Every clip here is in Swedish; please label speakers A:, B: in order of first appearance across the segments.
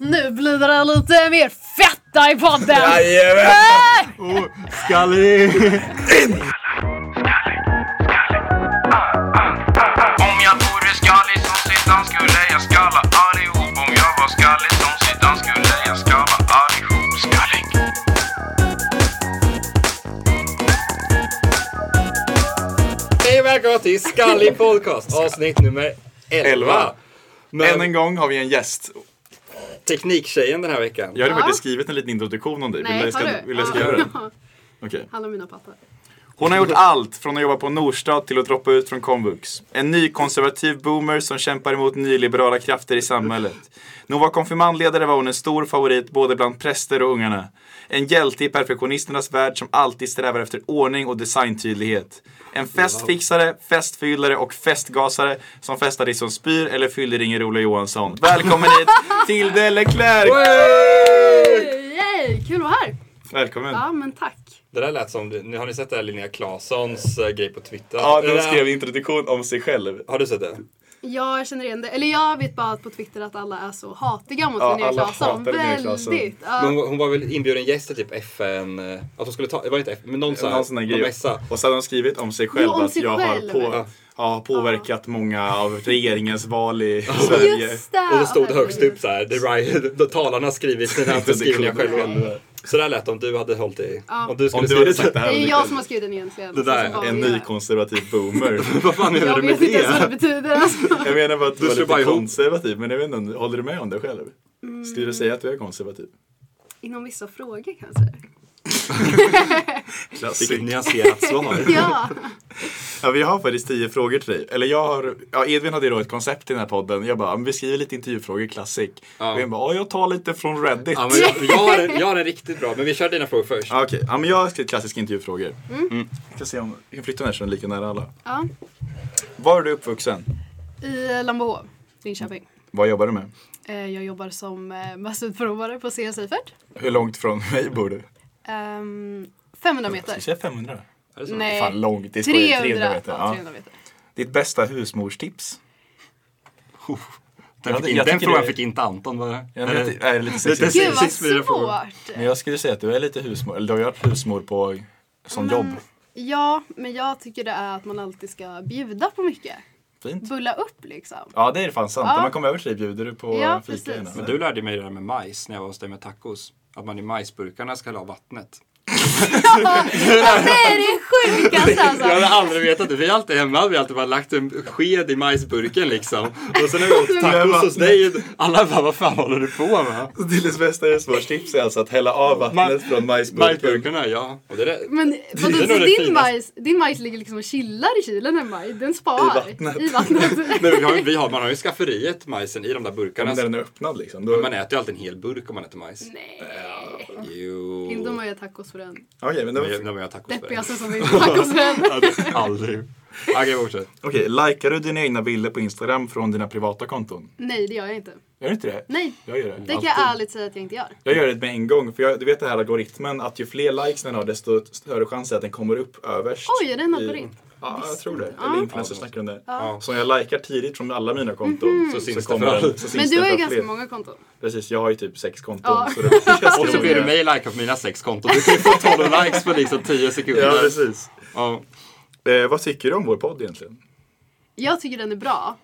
A: Nu blir det lite mer fetta i podden!
B: Jajamän!
A: Äh!
C: Oh, skallig!
D: Om jag vore skallig som Zidane skulle jag skalla allihop Om jag var skallig som Zidane skulle jag skalla allihop Skallig
B: Hej och välkomna till Skallig Podcast avsnitt nummer 11.
C: Elva.
B: Med
C: Än en gång har vi en gäst.
B: Tekniktjejen den här veckan.
C: Jag hade
A: Ja.
C: faktiskt skrivit en liten introduktion om dig.
A: Nej,
C: vill jag
A: har
C: ska,
A: du?
C: vill jag ska
A: Ja.
C: göra det? Okej.
A: Alla mina papper.
C: Hon har gjort allt från att jobba på Norstad till att droppa ut från komvux. En ny konservativ boomer som kämpar emot nyliberala krafter i samhället. När hon var konfirmandledare var hon en stor favorit både bland präster och ungarna. En hjälte i perfektionisternas värld som alltid strävar efter ordning och designtydlighet. En festfixare, festfyllare och festgasare som festar dig som spyr eller fyller ringer Ola Johansson. Välkommen hit, Tilde Leclerc!
B: Wey!
A: Yay! Kul att vara här!
C: Välkommen!
A: Ja, men tack.
B: Det där lät som, nu har ni sett det här Linnea Claessons eh, grej på Twitter?
C: Ja,
B: Eller,
C: de skrev introduktion om sig själv.
B: Har du sett det?
A: Jag känner igen det. Eller jag vet bara att på Twitter att alla är så hatiga mot
C: Ja,
A: Linnea
C: alla
A: Claesson.
C: hatar Linnea Claesson.
A: Väldigt. Ja.
B: Men hon, hon var väl inbjuden gäst till typ FN, eh, att hon skulle ta, det var inte FN, men någon sån här,
C: Någon sån där grej.
B: mässa.
C: Och sen har de skrivit om sig själv
A: Jo, om
C: att
A: sig
C: jag
A: själv.
C: har på,
B: Ja.
C: ja, påverkat många av regeringens val i Sverige.
A: Just det!
B: Och då stod det
A: Åh,
B: högst
A: herregud.
B: upp såhär, the riot, då talarna har skrivit sina beskrivningar själva. Så där lät det om du hade hållit i,
A: Ja.
B: om du
C: Om
B: skulle
C: du hade
B: skrivit
C: sagt det
A: Det
C: här
A: är ju
C: om
A: jag
C: dig
A: som har skrivit den egentligen.
B: Det där
A: Så var
C: själv. En
A: det.
C: ny konservativ boomer.
B: Vad fan menar
A: Jag
B: du med
A: vet inte ens vad
B: det?
A: det betyder. Alltså.
C: Jag menar bara att
B: Du
C: du,
B: slår
C: var lite
B: bara ihop.
C: konservativ. Men jag vet inte, om- håller du med om det själv?
A: Mm.
C: Skulle du säga att du är konservativ?
A: Inom vissa frågor kanske.
C: Klassik.
B: Vilket nyanserat svar.
A: Ja.
C: Ja, vi har faktiskt tio frågor till dig. Eller jag har, ja, Edvin hade ju då ett koncept i den här podden. Jag bara, "Ja, men vi skriver lite intervjufrågor, klassik.
B: Ja.
C: Och jag bara, ja, jag tar lite från Reddit.
B: Ja, men jag, jag, har en, jag har en riktigt bra, men vi kör dina frågor först.
C: Ja, Ah, Okej, ja, men jag har skrivit klassiska intervjufrågor. Mm. Jag ska se om jag kan flytta den här så den är lika nära alla.
A: ja.
C: Var är du uppvuxen?
A: I Lambohov, Linköping.
C: Vad jobbar du med?
A: Eh, Jag jobbar som eh, massutprovare på CN Seifert.
C: Hur långt från mig bor du?
A: Ehm, 500 meter.
C: säga 500.
B: Är det så?
A: Nej.
C: Fan långt, det
A: 300,
C: skojar, 300 meter.
A: Ja,
C: Ja.
A: 300 meter.
C: Ditt bästa husmorstips?
B: Den,
C: hade-
B: fick,
C: jag
B: jag den
C: tycker
B: frågan
C: det-
B: fick inte Anton. Var
C: Jag är lite, jag är Eh, lite
B: det-
C: sexist.
A: Gud vad
B: Precis, fyra frågor.
A: svårt!
C: Men jag skulle säga att du är lite husmor, eller du har ju varit husmor på, som
A: Mm.
C: jobb.
A: Ja, men jag tycker det är att man alltid ska bjuda på mycket.
C: Fint.
A: Bulla upp liksom.
C: Ja, det är fan sant.
A: Ja.
C: Om man kommer över till dig bjuder du på
A: Ja,
C: fika.
A: precis.
C: innan.
B: Men du lärde mig det där med majs när jag var hos dig med tacos. Att man i majsburkarna ska ha vattnet.
A: Det är det sjukaste alltså!
B: Jag hade aldrig vetat det. Vi har alltid hemma hade vi alltid bara lagt en sked i majsburken liksom. Och sen när vi
A: Alltså,
B: åt tacos hos dig, alla bara vad fan håller du på med?
C: Dilles bästa husmorstips är alltså att hälla av vattnet
B: Ma-
C: från majsburken.
B: Majsburkarna, ja. Och det där,
A: Men vadå,
B: nog
A: så
B: det
A: din,
B: finaste.
A: majs, din majs ligger liksom och chillar i kylen en maj? Den spar?
C: I vattnet.
A: I vattnet.
B: men vi har, vi har, man har ju i skafferiet majsen i de där burkarna.
C: När den är öppnad liksom. Då...
B: Man äter ju alltid en hel burk om man äter majs.
A: Nej.
B: Jo.
A: Mm. Inte om man gör tacos för den.
C: Okej, men då...
B: Men jag- När man gör tacos. för det.
A: Deppigaste som är tacos för den.
B: Hade Aldrig. Okej, fortsätt.
C: Okej, likar du dina egna bilder på Instagram från dina privata konton?
A: Nej, det gör jag inte.
C: Gör du inte det?
A: Nej,
C: Jag gör det.
A: det kan jag ärligt säga att jag inte gör.
C: Jag gör det med en gång, för jag, du vet den här algoritmen att ju fler likes den har desto större chans är att den kommer upp överst.
A: Oj, är det en
C: i-
A: algoritm?
C: Ja, jag tror det. Eller influencers snackar om det.
B: Ja.
C: Så om jag likar tidigt från alla mina konton så,
B: syns det
C: kommer
B: för alla.
C: den. Så syns
A: Mhm. Men du
C: den
A: har ju
C: för
A: ganska
C: fler.
A: många konton.
C: Precis, jag har ju typ sex konton.
A: Ja.
C: Så det jag
B: Och så ber du mig likea på mina sex konton. Du kan ju få 12 likes på liksom 10 sekunder.
C: Ja, precis.
B: Ja.
C: Eh, vad tycker du om vår podd egentligen?
A: Jag tycker den är bra.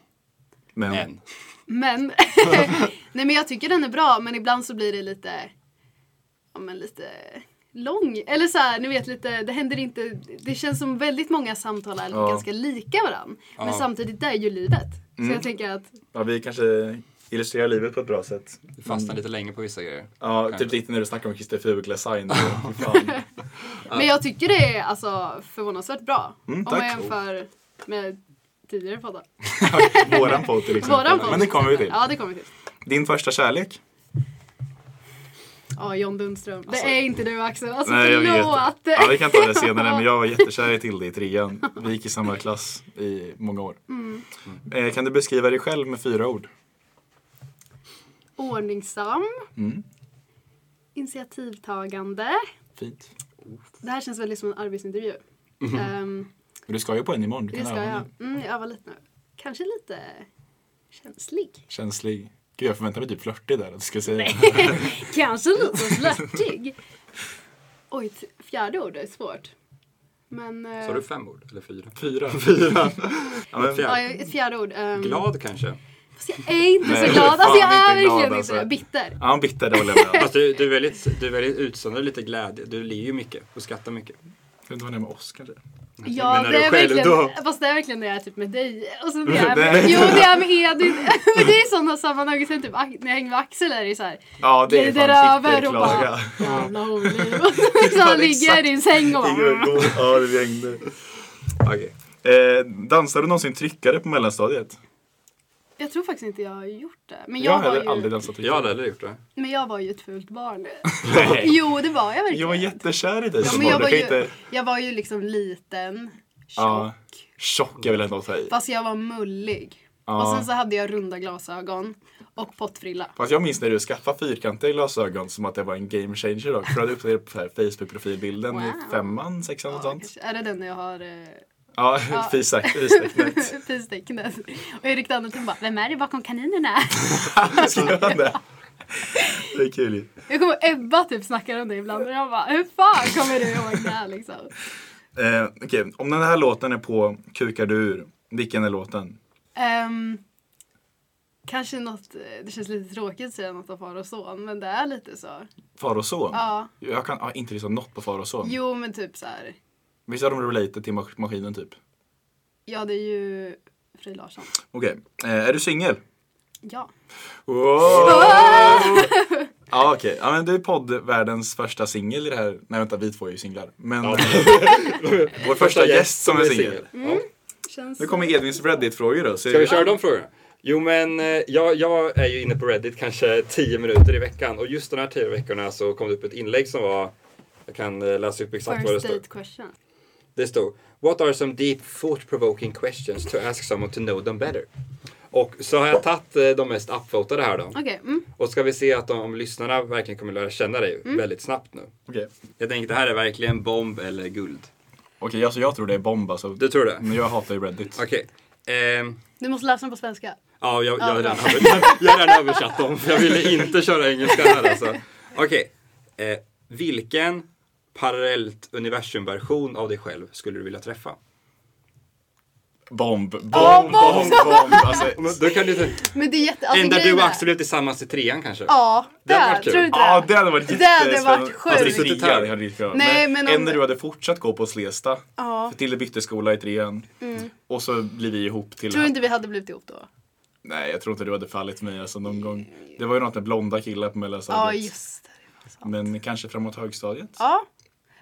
C: Men,
B: Men.
A: Men, nej men jag tycker den är bra men ibland så blir det lite, ja men lite lång. Eller så här, ni vet lite, det händer inte, det känns som väldigt många samtal är
C: Ja.
A: ganska lika varann. Men
B: Ja.
A: samtidigt, det är ju livet. Så
C: Mm.
A: jag tänker att,
C: Ja, vi kanske illustrerar livet på ett bra sätt.
B: Du fastnar lite länge på vissa grejer.
C: Ja,
B: Kanske.
C: typ lite när du snackar om Christer Fuglesang. Fy fan.
A: men jag tycker det är alltså förvånansvärt bra. om man
C: Mm, tack.
A: jämför med tidigare poddar.
C: Våran podd till exempel.
A: Våran podd.
C: Men det kommer vi till.
A: Ja det kommer vi till.
C: Din första kärlek?
A: Ja, John Lundström. Det är inte du Axel. Alltså
C: Nej, jag vet.
A: förlåt.
C: Ja, vi kan ta det senare, men jag var jättekär i Tilde i trean. Vi gick i samma klass i många år.
A: Mm.
C: Eh, kan du beskriva dig själv med fyra ord?
A: Ordningsam.
C: Mm.
A: Initiativtagande.
C: Fint.
A: Det här känns väldigt som en arbetsintervju. Ehm,
C: Men Du ska ju på en imorgon. Du
A: det
C: Mhm. kan
A: ska Mm,
C: öva
A: jag.
C: nu.
A: Mm, jag övar lite nu. Kanske lite känslig.
C: Känslig. Gud, jag förväntar mig typ flörtig där. Att du ska säga.
A: Kanske lite flörtig. Oj, t- fjärde ordet är svårt. Men... eh,
B: Sa du fem ord? Eller fyra?
C: Fyra. Fyra.
B: Ja, men,
A: ja,
B: fjärde.
A: ett fjärde ord. ehm,
B: Glad kanske?
A: Fast jag är inte
C: Nej,
A: så glad.
C: fan
A: Alltså jag
C: inte
A: är
C: glad,
A: verkligen
C: alltså.
A: inte det. Bitter.
C: Ja, han bitter, det håller jag med om.
B: Fast du, du är väldigt, du är väldigt utsöndrar lite glädje. Du ler ju mycket och skrattar mycket.
C: Ska du inte vara närmare oss kanske? Alltså,
A: Ja,
B: menar
A: det
B: du
A: är
B: själv
A: verkligen,
B: då?
A: fast det är verkligen det jag är typ med dig. Och sen det jag är
C: Nej.
A: med, jo, det jag är med Edvin. Men det är i sådana sammanhang. Sen typ, ak- när jag hänger med Axel är det ju såhär.
C: Ja, det är
A: Glider
C: fan
A: över
C: riktigt
A: och bara.
C: klaga.
A: Jävla Oli. Och så liksom
C: Ja,
A: han ligger i
C: exakt.
A: din säng och
C: Ligger och
A: bara. "Mm."
C: går. Ja, det regnar.
B: Okej.
C: Eh, dansade du någonsin tryckare på mellanstadiet?
A: Jag tror faktiskt inte jag har gjort det. Men
C: Jag,
A: jag,
C: har heller
A: var,
C: aldrig
A: ju,
C: dansat
B: Jag
C: tryckare.
B: hade aldrig gjort det.
A: men jag var ju ett fult barn.
C: Nej.
A: Jo, det var jag verkligen.
C: Jag var jättekär i dig
A: ja,
C: som
A: men
C: barn.
A: jag,
C: Du
A: var
C: kan
A: ju,
C: inte...
A: jag var ju liksom liten, tjock.
C: Ja. Tjock är väl ändå att ta i.
A: Fast jag var mullig.
C: Ja.
A: Och sen så hade jag runda glasögon och pottfrilla.
C: Fast jag minns när du skaffade fyrkantiga glasögon som att det var en game changer dock. För du hade uppdaterat på så här Facebook-profilbilden i
A: Wow.
C: femman, sexan och
A: Ja,
C: sånt.
A: kanske. är det den jag har eh,
C: Ja,
A: Ja.
C: fisak, fisknät.
A: pistecknet? Och Erik Dannerton bara, vem är det bakom kaninerna?
C: Skrev han det? Det är kul ju.
A: Jag kommer ihåg Ebba typ snackar om det ibland och jag bara, hur fan kommer du ihåg det här liksom?
C: Eh, Okej, om den här låten är på Kukar du ur, vilken är låten?
A: Ehm, kanske något, eh, det känns lite tråkigt att säga något om far och son, men det är lite så.
C: Far och son?
A: Ja,
C: Jag kan ja, inte lyssna något på Far och son.
A: jo men typ så här.
C: Visst har de related till mas- maskinen typ?
A: ja det är ju Frej Larsson.
C: Okej, eh, är du singel?
A: Ja.
C: Ja okej, ja, men du är poddvärldens första singel i det här. Nej vänta, vi två är ju singlar. Men
B: Ja.
C: vår första gäst som är singel.
B: Ja.
A: Känns
C: Nu kommer Edvins Reddit-frågor då. Så
B: Ska vi köra de frågorna? Jo men eh, jag, jag är ju inne på Reddit kanske 10 minuter i veckan och just de här 10 veckorna så kom det upp ett inlägg som var jag kan eh, läsa upp exakt vad det
A: First
B: stod.
A: date question.
B: Det stod What are some deep thought provoking questions to ask someone to know them better? Och så har jag tagit eh, de mest upvotade här då.
A: Okej, mm.
B: Och ska vi se att de, om lyssnarna verkligen kommer lära känna dig väldigt snabbt nu.
C: Okej,
B: Jag tänkte det här är verkligen bomb eller guld.
C: Okej, alltså jag tror det är bomb alltså.
B: Du tror det?
C: Men jag hatar ju Reddit.
B: Okej. Ehm,
A: Du måste läsa den på svenska.
B: Ja, jag, jag,
A: Ja,
B: har
A: bra.
B: redan, över- jag har redan översatt dem, för jag ville inte köra engelska här alltså. Okej. Eh, vilken parallellt universumversion av dig själv skulle du vilja träffa?
C: Bomb, bomb,
A: bomb,
C: bomb, bomb. Alltså,
B: Då kan du inte...
A: Men det är jätte... Alltså,
B: Ända du
A: grejen
B: och
A: är-
B: Axel blev tillsammans i trean kanske?
A: Ja,
B: Det
A: det
B: hade varit
A: är,
B: kul.
A: tror du inte
C: Ja,
A: det?
C: det hade varit
A: Det hade
C: jättespännande.
A: varit
C: Alltså,
A: sjukt.
C: det trean hade varit skönt.
A: Nej, men om-
C: Än när du hade fortsatt gå på Slesta.
A: Ja. Mm.
C: För Tilde bytte skola i trean. Och så blir vi ihop till...
A: Tror du inte vi hade blivit ihop då?
C: Nej, jag tror inte du hade fallit mig alltså någon gång. Det var ju något med blonda killar på
A: Ja,
C: mellanstadiet.
A: just det.
C: Men kanske framåt högstadiet.
A: Ja.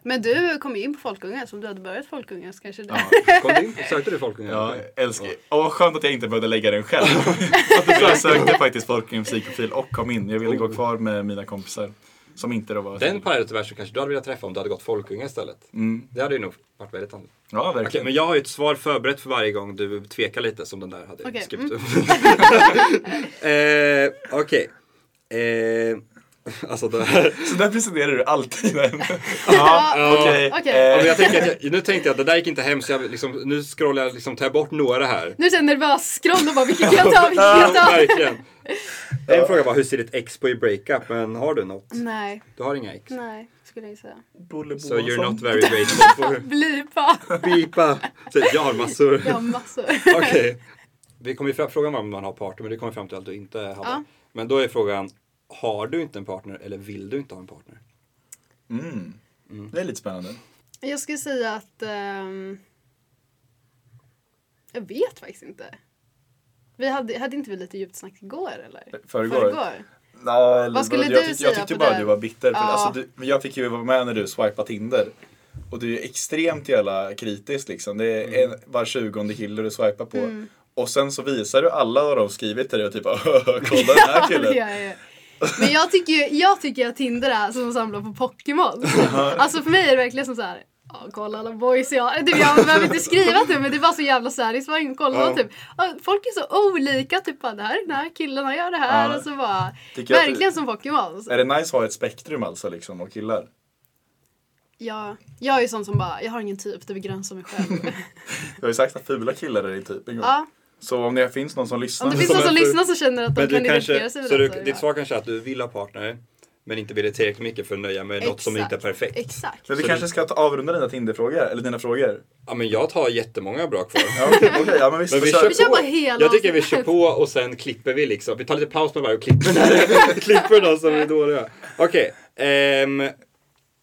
A: Men du kom ju in på Folkunga, som du hade börjat Folkunga så kanske det.
B: Kom du in? Sökte du folk?
C: Ja, älskar. Åh, skönt att jag inte behövde lägga den själv. Att jag sökte faktiskt folk i en musikprofil och kom in. Jag ville gå kvar med mina kompisar. Som inte då var...
B: Oh. Den parallellt universum kanske du hade velat träffa om du hade gått Folkunga istället?
C: Mm.
B: Det hade ju nog varit väldigt annorlunda.
C: Ja, verkligen.
B: Okej, men jag har ju ett svar förberett för varje gång du tvekar lite som den där hade
A: Okej, mm.
B: skrivit upp. eh, Okej. Eh, alltså det här.
C: Så där presenterar du alltid den.
A: Ja,
C: Okej.
A: okej.
B: Ja, men
C: Eh,
B: jag tänker att jag, nu tänkte jag att det där gick inte hem så jag liksom, nu scrollar jag liksom, tar jag bort några här.
A: Nu är jag nervös skroll och bara vilken kan jag ta, vilken kan jag
B: Ja,
A: ta?
B: verkligen. En fråga var hur ser ditt ex på i breakup? Men har du något?
A: Nej,
B: Du har inga ex?
A: nej skulle jag säga.
B: So you're not very grateful for...
A: Blipa!
B: Pipa! Så Jag har massor.
A: Jag har massor.
B: Okej. Vi kommer ju fram, frågan var om man har partner, men det kommer vi fram till att du inte har.
A: Ja.
B: Men då är frågan, har du inte en partner eller vill du inte ha en partner?
C: Mm. Det är lite spännande.
A: Jag skulle säga att... ehm, jag vet faktiskt inte. Vi hade, hade inte vi lite djupt snack igår eller?
C: Förrgår.
A: Förrgår.
C: Ja, eller,
A: Vad skulle
C: jag,
A: du
C: tyckte-
A: säga
C: Jag tyckte
A: på
C: bara
A: det?
C: du var bitter. För
A: Ja.
C: alltså, du, men jag fick ju vara med när du swipade Tinder. Och du är extremt jävla kritisk liksom. Det är
B: Mm.
C: en, var tjugonde kille du swipar på.
A: Mm.
C: Och sen så visar du alla vad de skrivit till dig och typ bara kolla den här
A: Ja, det
C: killen.
A: gör jag ju. Men jag tycker, ju- jag tycker att Tinder är som att samla på Pokémon. Alltså för mig är det verkligen som så här. Ja, kolla alla boys jag... Typ, jag behöver inte skriva typ, men det är bara så jävla satisfying att kolla
B: Ja.
A: typ. ja, Folk är så olika, typ bara, det här är den här killen, han gör det här.
C: Ja.
A: Och så bara,
C: Tycker jag att-
A: verkligen som Pokémon.
C: Är det nice att ha ett spektrum alltså liksom av killar?
A: Jag, jag är ju sån som bara, jag har ingen typ, det begränsar mig själv.
C: Jag har ju sagt att fula killar är din typ en gång.
A: ja,
C: Så om det finns någon som lyssnar.
A: Om det finns
B: som
A: någon som
B: är fru.
A: lyssnar som känner att de
B: Men
A: kan
B: du
A: identifiera
B: kanske,
A: sig med
B: så
A: den
B: du,
A: så är det
B: ditt
A: bra.
B: svar kanske är att du vill ha partner men inte vill det tillräckligt mycket för att nöja med något som inte är
A: Exakt.
B: perfekt.
A: Exakt.
C: Men vi
B: Så
C: kanske
B: det-
C: ska ta avrunda dina Tinder-frågor, eller dina frågor.
B: Ja men jag tar jättemånga bra kvar.
C: Ja, okej, okej, ja men visst.
B: Men vi
C: då kör
B: kör
A: Vi kör
B: på.
A: bara hela
B: Jag tycker vi
A: avsnittet.
B: kör på och sen klipper vi liksom. Vi tar lite paus med varje och klipper, när, klipper de som är dåliga. Okej. ehm,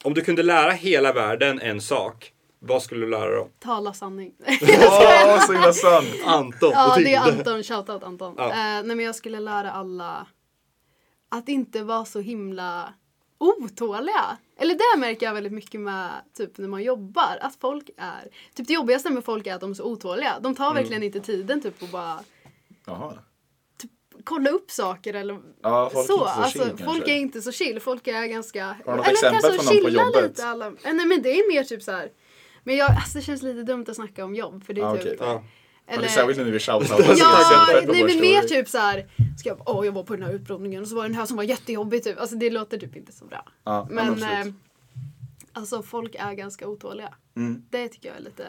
B: om du kunde lära hela världen en sak, vad skulle du lära dem?
A: Tala sanning.
C: Åh, så himla sant!
B: Anton
A: ja,
B: på
A: det är
B: Tinder.
A: Anton. Shoutout Anton.
B: Ja.
A: Eh, nej, men jag skulle lära alla att inte vara så himla otåliga. Eller det märker jag väldigt mycket med typ när man jobbar. Att folk är... Typ det jobbigaste med folk är att de är så otåliga. De
B: Mm.
A: tar verkligen inte tiden typ och bara typ,
C: Jaha.
A: kolla upp saker eller
C: Ja, folk är
A: så.
C: inte
A: alltså,
C: så chill,
A: folk
C: kanske.
A: är inte så chill. Folk är ganska...
C: du något exempel från någon på jobbet?
A: lite. Alla... Eh, Nej men det är mer typ så här. Men jag, alltså, det känns lite dumt att snacka om jobb för det är
C: Ja,
A: typ...
C: okej.
B: Ja.
C: Men det är
A: eller-
C: särskilt nu när vi shoutoutar.
A: Ja, nej men mer typ så här. Ska jag, åh, jag var på den här utbildningen och så var det den här som var jättejobbig typ. Alltså det låter typ inte så bra.
C: Ja, ja, men
A: men
C: absolut.
A: eh, alltså folk är ganska otåliga.
C: Mm.
A: Det tycker jag är lite,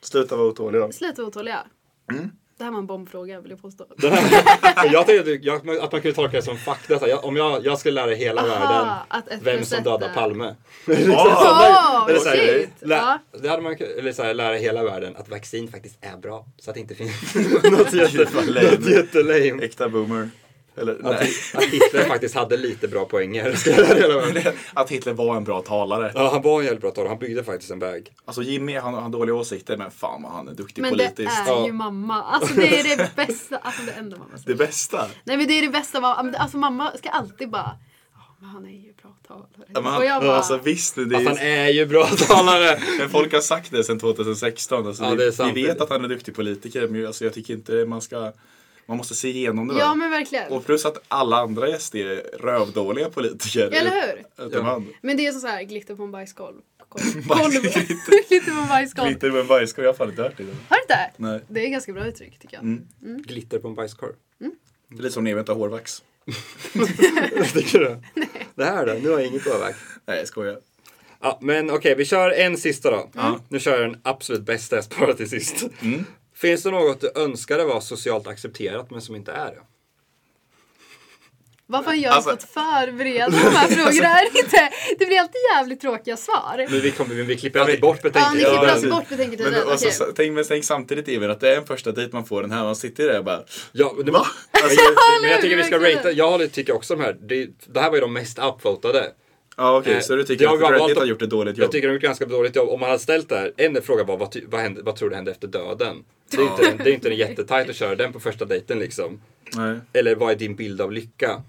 C: Sluta vara otålig då.
A: sluta vara otåliga.
C: Mm.
A: Det här var en bombfråga vill jag påstå.
B: Men jag tänkte att, du- jag, att man kunde tolka det som fakta. Så här, jag, om jag, jag skulle lära hela
A: Aha,
B: världen
A: att ett
B: vem
A: plus
B: som
A: ett
B: dödar
A: är-
B: Palme.
A: Åh,
B: Eller så här,
A: shit!
B: lä-
A: Ja.
B: Det hade man kun- eller så här, lära hela världen att vaccin faktiskt är bra. Så att det inte finns något, jätte,
C: Gud, vad lame.
B: något jättelame.
C: Äkta boomer. Eller
B: Att,
C: nej.
B: att Hitler faktiskt hade lite bra poänger. Ska jag lära hela världen.
C: Att Hitler var en bra talare.
B: Ja, han var en jävligt bra talare. Han byggde faktiskt en väg.
C: Alltså Jimmy, han han har dåliga åsikter men fan vad han är duktig
A: Men det
C: politiskt.
B: Ja.
A: är ju mamma. Alltså det är det bästa. Alltså det enda mamma
C: Det
A: säger.
C: bästa.
A: Nej men det är det bästa. mamma- Alltså mamma ska alltid bara. "Ja, Men han är ju bra talare.
C: Ja, men
A: och
C: han,
A: jag bara.
C: alltså visst, det
B: Att han
C: är,
B: är ju bra talare.
C: men folk har sagt det sedan 2016. Alltså,
B: Ja,
C: vi-
B: det är sant.
C: vi vet att han är duktig politiker men alltså, jag tycker inte man ska, man måste se igenom det. va?
A: ja men verkligen.
C: Och plus att alla andra gäster är rövdåliga politiker.
A: Eller hur?
C: Utom
B: Ja.
C: han.
A: Men det är som så här glitter på en bajskolv. Kolv.
C: Bajs-
A: Kolv. glitter på en bajskolv.
C: Glitter med bajskorv, jag har fan inte hört det. innan.
A: Har du inte?
C: Nej. Mm.
A: Det är ganska bra uttryck tycker jag.
B: Glitter på en bajskorv.
C: Det är lite som när Emil inte har hårvax.
B: Tycker du? Det här då? Nu har jag inget påverk.
C: Nej, jag skojar.
B: Ja, men okej, vi kör en sista då. Nu kör jag den absolut bästa jag sparat till sist. Finns det något du önskade var socialt accepterat men som inte är det?
A: Varför har jag
C: Alltså-
A: fått förbereda de här frågorna? Är det inte? Det blir alltid jävligt tråkiga svar.
B: Men vi, kommer, vi klipper alltid bort
A: Ja, ni
B: betänkandet.
A: klipper
C: Ja,
A: alltså
C: men-
A: bort betänketiden.
C: Men, då, alltså,
A: Okej.
C: sa- tänk, men tänk samtidigt Emil att det är en första dejt man får den här. Man sitter där och bara
B: Ja, men det,
C: Va?
B: alltså, men jag tycker vi ska
A: verkligen.
B: ratea. Jag håller- tycker också de här. Det, det här var ju de mest upvotade.
C: Ja okej,
B: Eh,
C: så du tycker
B: jag
C: att
B: har
C: Reddit
B: valt att-
C: har gjort ett dåligt jobb?
B: Jag tycker de har gjort ganska dåligt jobb. Om man hade ställt det här. En fråga var vad, ty- vad, händer, vad tror du händer efter döden? Det är ju inte, det är inte en jättetajt att köra den på första dejten liksom.
C: Nej.
B: Eller vad är din bild av lycka?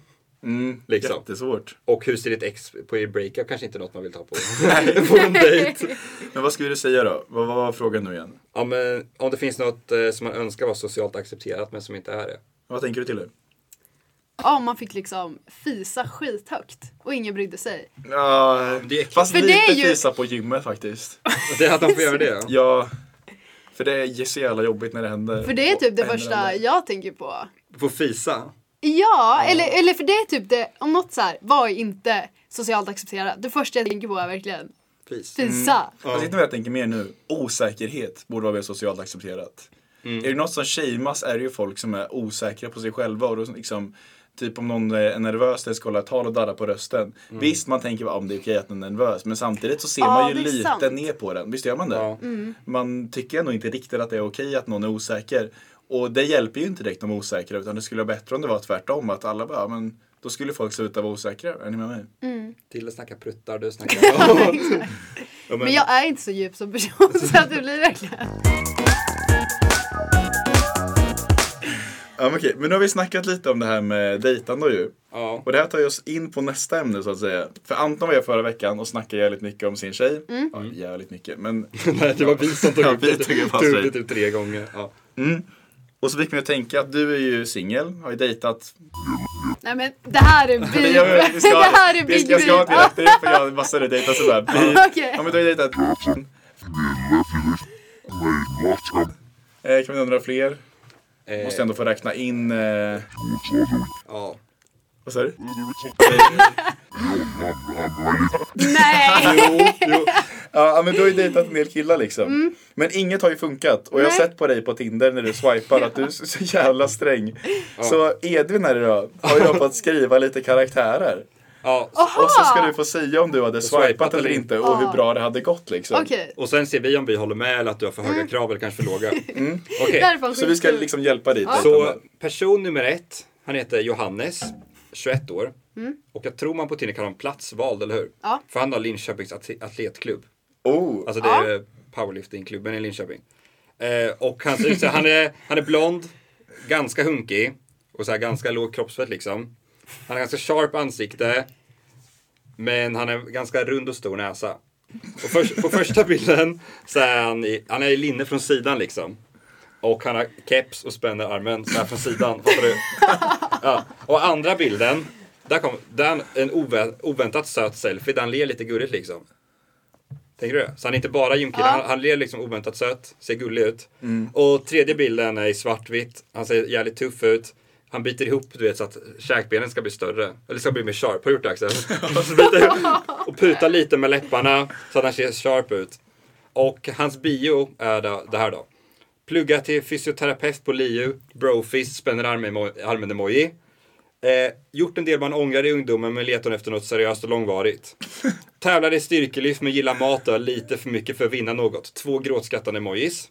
C: Mm,
B: Liksom.
C: Jättesvårt.
B: Och hur ser ditt ex på er breakup? Kanske inte något man vill ta på, på en dejt.
C: Men vad skulle du säga då? Vad vad var frågan nu igen?
B: Ja, men om det finns något eh, som man önskar var socialt accepterat men som inte är det.
C: Vad tänker du till det?
A: Ja, om man fick liksom fisa skithögt och ingen brydde sig.
C: Ja,
B: det är äckligt.
C: fast
A: För det
C: lite
A: är ju-
C: fisa på gymmet faktiskt.
B: Det är att de får göra det.
C: Ja, för det är så jävla jobbigt när det händer.
A: För det är typ det
C: Och-
A: första
C: händer.
A: jag tänker på.
B: Få fisa.
A: Ja, eller, eller för det är typ det, om något så här, vad är inte socialt accepterat? Det första jag tänker på är verkligen
B: Fis.
C: Mm.
A: fisa.
C: Fast Alltså, inte vad jag tänker mer nu. Osäkerhet borde vara mer socialt accepterat. Är det något som shameas är det ju folk som är osäkra på sig själva och då liksom Typ om någon är nervös eller ska hålla ett tal och darrar på rösten. Visst man tänker om det är okej att den är nervös men samtidigt så ser
A: Ja,
C: man ju
A: det är
C: lite
A: sant. Mm.
C: ner på den. Visst gör man det?
B: Ja.
C: Man tycker ändå inte riktigt att det är okej att någon är osäker. Och det hjälper ju inte direkt de osäkra utan det skulle vara bättre om det var tvärtom. Att alla bara, "Ja, men då skulle folk sluta vara osäkra. Är ni med
A: Mm.
C: mig?
B: Till att snacka pruttar, du snackar...
C: Ja, men-
A: Men jag är inte så djup som person så att det blir verkligen...
C: Ja, men okej, men nu har vi snackat lite om det här med dejtande och ju.
B: ja.
C: Och det här tar ju oss in på nästa ämne så att säga. För Anton var jag förra veckan och snackade jävligt mycket om sin tjej.
A: Mm.
C: Ja, jävligt mycket. Men,
B: Nej, det var vi som tog
C: Ja,
B: upp
C: vi
B: det.
C: tog upp hans
B: Tog upp
C: tjej.
B: det typ tre gånger. Ja.
C: och så fick mig att tänka att du är ju singel, har ju dejtat.
A: Nej men det här är beep.
C: Nej, jag- vi ska-
A: det här är
C: vi
A: big
C: ska- Jag ska ha ett
A: beep.
C: direkt, det är för jag har massor av dejtat sådär.
A: Ah, Okej.
C: Ja men du har ju dejtat. Eh, kan vi undra fler?
B: Eh,
C: Måste ändå få räkna in... Eh,
B: ja.
C: vad sa du?
A: Nej.
B: Jo, jo.
E: Ja, men du har ju dejtat en del killar liksom. Men inget har ju funkat. Och jag har
A: Mm. Nej.
E: sett på dig på Tinder när du swipar att du är så så jävla sträng. Så Edvin här idag har ju då fått skriva lite karaktärer.
B: Ja,
A: Aha! Ah.
E: Och så ska du få säga om du hade
B: Swipat
E: swipat eller
B: eller
E: inte och hur bra det hade gått liksom.
A: Okej,
B: och sen ser vi om vi håller med eller att du har för höga krav eller kanske för låga. Mm.
A: det här är fan
E: Så vi ska
A: skitkul.
E: liksom hjälpa
A: Ah.
E: dig.
B: Så person nummer ett, han heter Johannes, 21 år. Och jag tror man på Tinder kallar honom platsvald, eller hur?
A: Ja.
B: För han har Linköpings atle- atletklubb.
E: Oh,
B: Alltså det är powerliftingklubben i Linköping. Eh, och han ser ut så här, han är, han är blond, ganska hunkig och så här ganska låg kroppsfett liksom. Han har ganska sharp ansikte, men han är ganska rund och stor näsa. Och först, på första bilden så är han i, han är i linne från sidan liksom. Och han har keps och spänner armen så här från sidan. Fattar du? Ja. Och andra bilden, där kom där han- en ovä, oväntat söt selfie där han ler lite gulligt liksom. Tänker du? Så han är inte bara gymkille,
A: Ja.
B: han, han ler liksom oväntat söt, ser gullig ut. Och tredje bilden är i svartvitt, han ser jävligt tuff ut. Han biter ihop du vet, så att käkbenen ska bli större, eller ska bli mer sharp. Har du gjort det Axel? Och, så biter, ihop och putar lite med läpparna så att han ser sharp ut. Och hans bio är då- det här då. Plugga till fysioterapeut på LiU, brofist, spänner armen-emo- armen-emoji. Eh, gjort en del man ångrar i ungdomen men letar efter något seriöst och långvarigt. Tävlar i styrkelyft men gillar mat och lite för mycket för att vinna något. Två gråtskrattande emojis.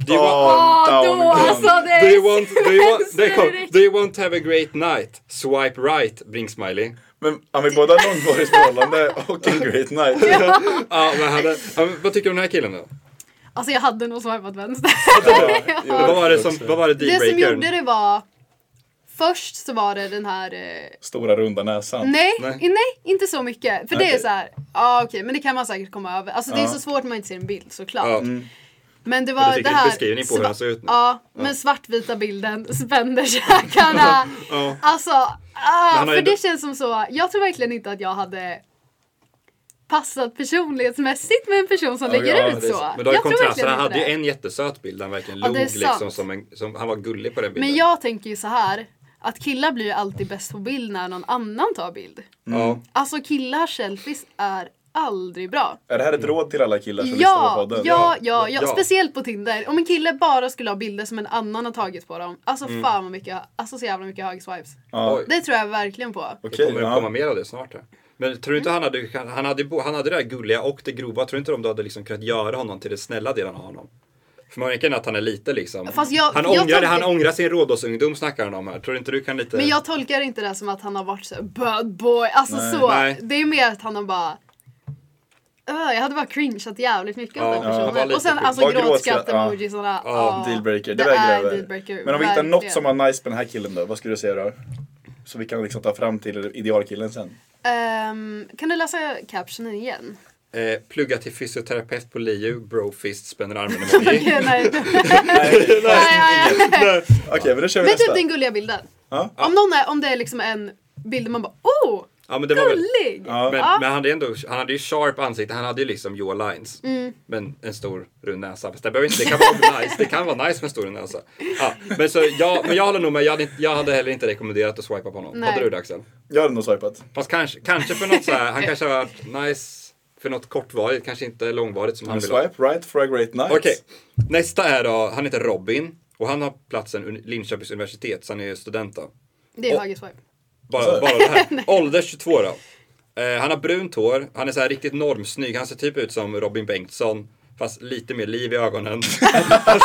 B: Do you, want,
A: Åh,
E: Down,
A: då
E: down.
A: alltså! Det är
B: do you want, do you want,
A: det
B: där
A: är
B: kom,
A: direkt.
B: do you want to have a great night? Swipe right, blink smiley.
E: Men han vill båda ha långvarigt förhållande och en great night.
B: Ja, men han, ja, men vad tycker du om den här killen då?
A: Alltså jag hade nog swipat vänster.
E: Jo,
B: Vad var det som, vad var det
A: Det som gjorde
B: dealbreakern?
A: det var... Först så var det den här... Eh,
E: Stora runda näsan.
A: nej,
B: Nej.
A: nej. nej, inte så mycket. För det är
E: Okej.
A: så här, ja okej, men det kan man säkert komma över. Alltså det är
E: Ja.
A: så svårt när man inte ser en bild såklart.
B: Ja,
A: Men det
B: Men
A: var
B: du fick
A: det
B: en
A: här...
B: beskrivning på hur
A: sva-
B: han såg ut nu.
A: Ja, men svartvita bilden, spände käkarna. Alltså, ah,
B: han har
A: för
B: ju-
A: det känns som så. Jag tror verkligen inte att jag hade passat personlighetsmässigt med en person som lägger
E: ja,
A: ut
B: det är
A: så.
B: så. Men då har ju
A: jag tror
B: kontraster.
A: verkligen
B: Han
A: inte
B: hade ju
A: det.
B: en jättesöt bild där han verkligen
A: Ja,
B: log
A: det är
B: liksom
A: sant.
B: som en, som, han var gullig på den bilden.
A: Men jag tänker ju så här att killar blir ju alltid bäst på bild när någon annan tar bild.
B: Ja.
A: Alltså killars selfies är aldrig bra.
E: Är det här ett råd till alla killar som lyssnar på
A: Ja, ja,
E: podden?
A: ja, ja,
B: ja.
A: speciellt på Tinder. Om en kille bara skulle ha bilder som en annan har tagit på dem. Alltså
E: Mm.
A: fan vad mycket, alltså så jävla mycket högswipes.
E: Ja.
B: Oj.
A: Det tror jag verkligen på.
B: Det
E: Okej,
B: kommer
E: ja.
B: komma mer av det snart. Här. Men tror
A: Mm.
B: du inte han hade, han, hade, bo- han hade det där gulliga och det grova, tror du inte de då hade liksom kunnat göra honom till den snälla delen av honom? För man märker att han är lite liksom.
A: Fast jag-
B: han,
A: jag
B: ångrar,
A: tänker-
B: han ångrar sin rådåsungdom snackar han om här. Tror du inte du kan lite...
A: Men jag tolkar inte det som att han har varit så här, bad boy. Alltså så.
B: Nej.
A: Det är mer att han har bara "Öh, jag hade bara cringeat jävligt mycket
B: Ja,
A: åt den
B: ja, han var
A: personen.
B: lite
A: och sen
B: cringe.
A: alltså
E: Bara gråtskratt,
A: gråtskratt-emojis. Ja.
B: Ja,
E: Dealbreaker, det,
A: det
E: väger
A: är
E: över.
A: dealbreaker,
E: Men om vi hittar något
A: verkligen.
E: som var nice med den här killen då, vad skulle du säga då? Så vi kan liksom ta fram till idealkillen sen.
A: Ehm, kan du läsa captionen igen?
B: eh, plugga till fysioterapeut på LiU, brofist, spänner armen emoji.
A: Nej, nej, nej.
E: Okej, men då kör vi
A: Men
E: nästa.
A: typ den gulliga bilden.
E: Ja.
A: Om, någon är, om det är liksom en bild man bara oh,
B: Ja men det var väl...
A: gullig!
E: Ja.
B: Men, men han, hade ändå, han hade ju sharp ansikte, han hade ju liksom your lines. Men en stor rund näsa. Fast det, behöver inte, det kan vara nice, det kan vara nice med en stor rund näsa. Ja, men, så jag, men jag håller nog med, jag hade, inte- jag hade heller inte rekommenderat att swipa på honom.
A: Nej.
B: Hade du det Axel?
E: Jag hade nog swipat.
B: Fast kanske, kanske för något så här, han kanske har varit nice för något kortvarigt, kanske inte långvarigt som han
E: Men
B: vill ha.
E: swipe right for a great night.
B: Okej, nästa är då, han heter Robin och han har platsen un- Linköpings universitet så han är ju student då.
A: Det är
B: Och-
A: höger swipe.
B: Bara, bara det här. Ålder 22 då. Eh, han har brunt hår, han är så här riktigt normsnygg, han ser typ ut som Robin Bengtsson. Fast lite mer liv i ögonen.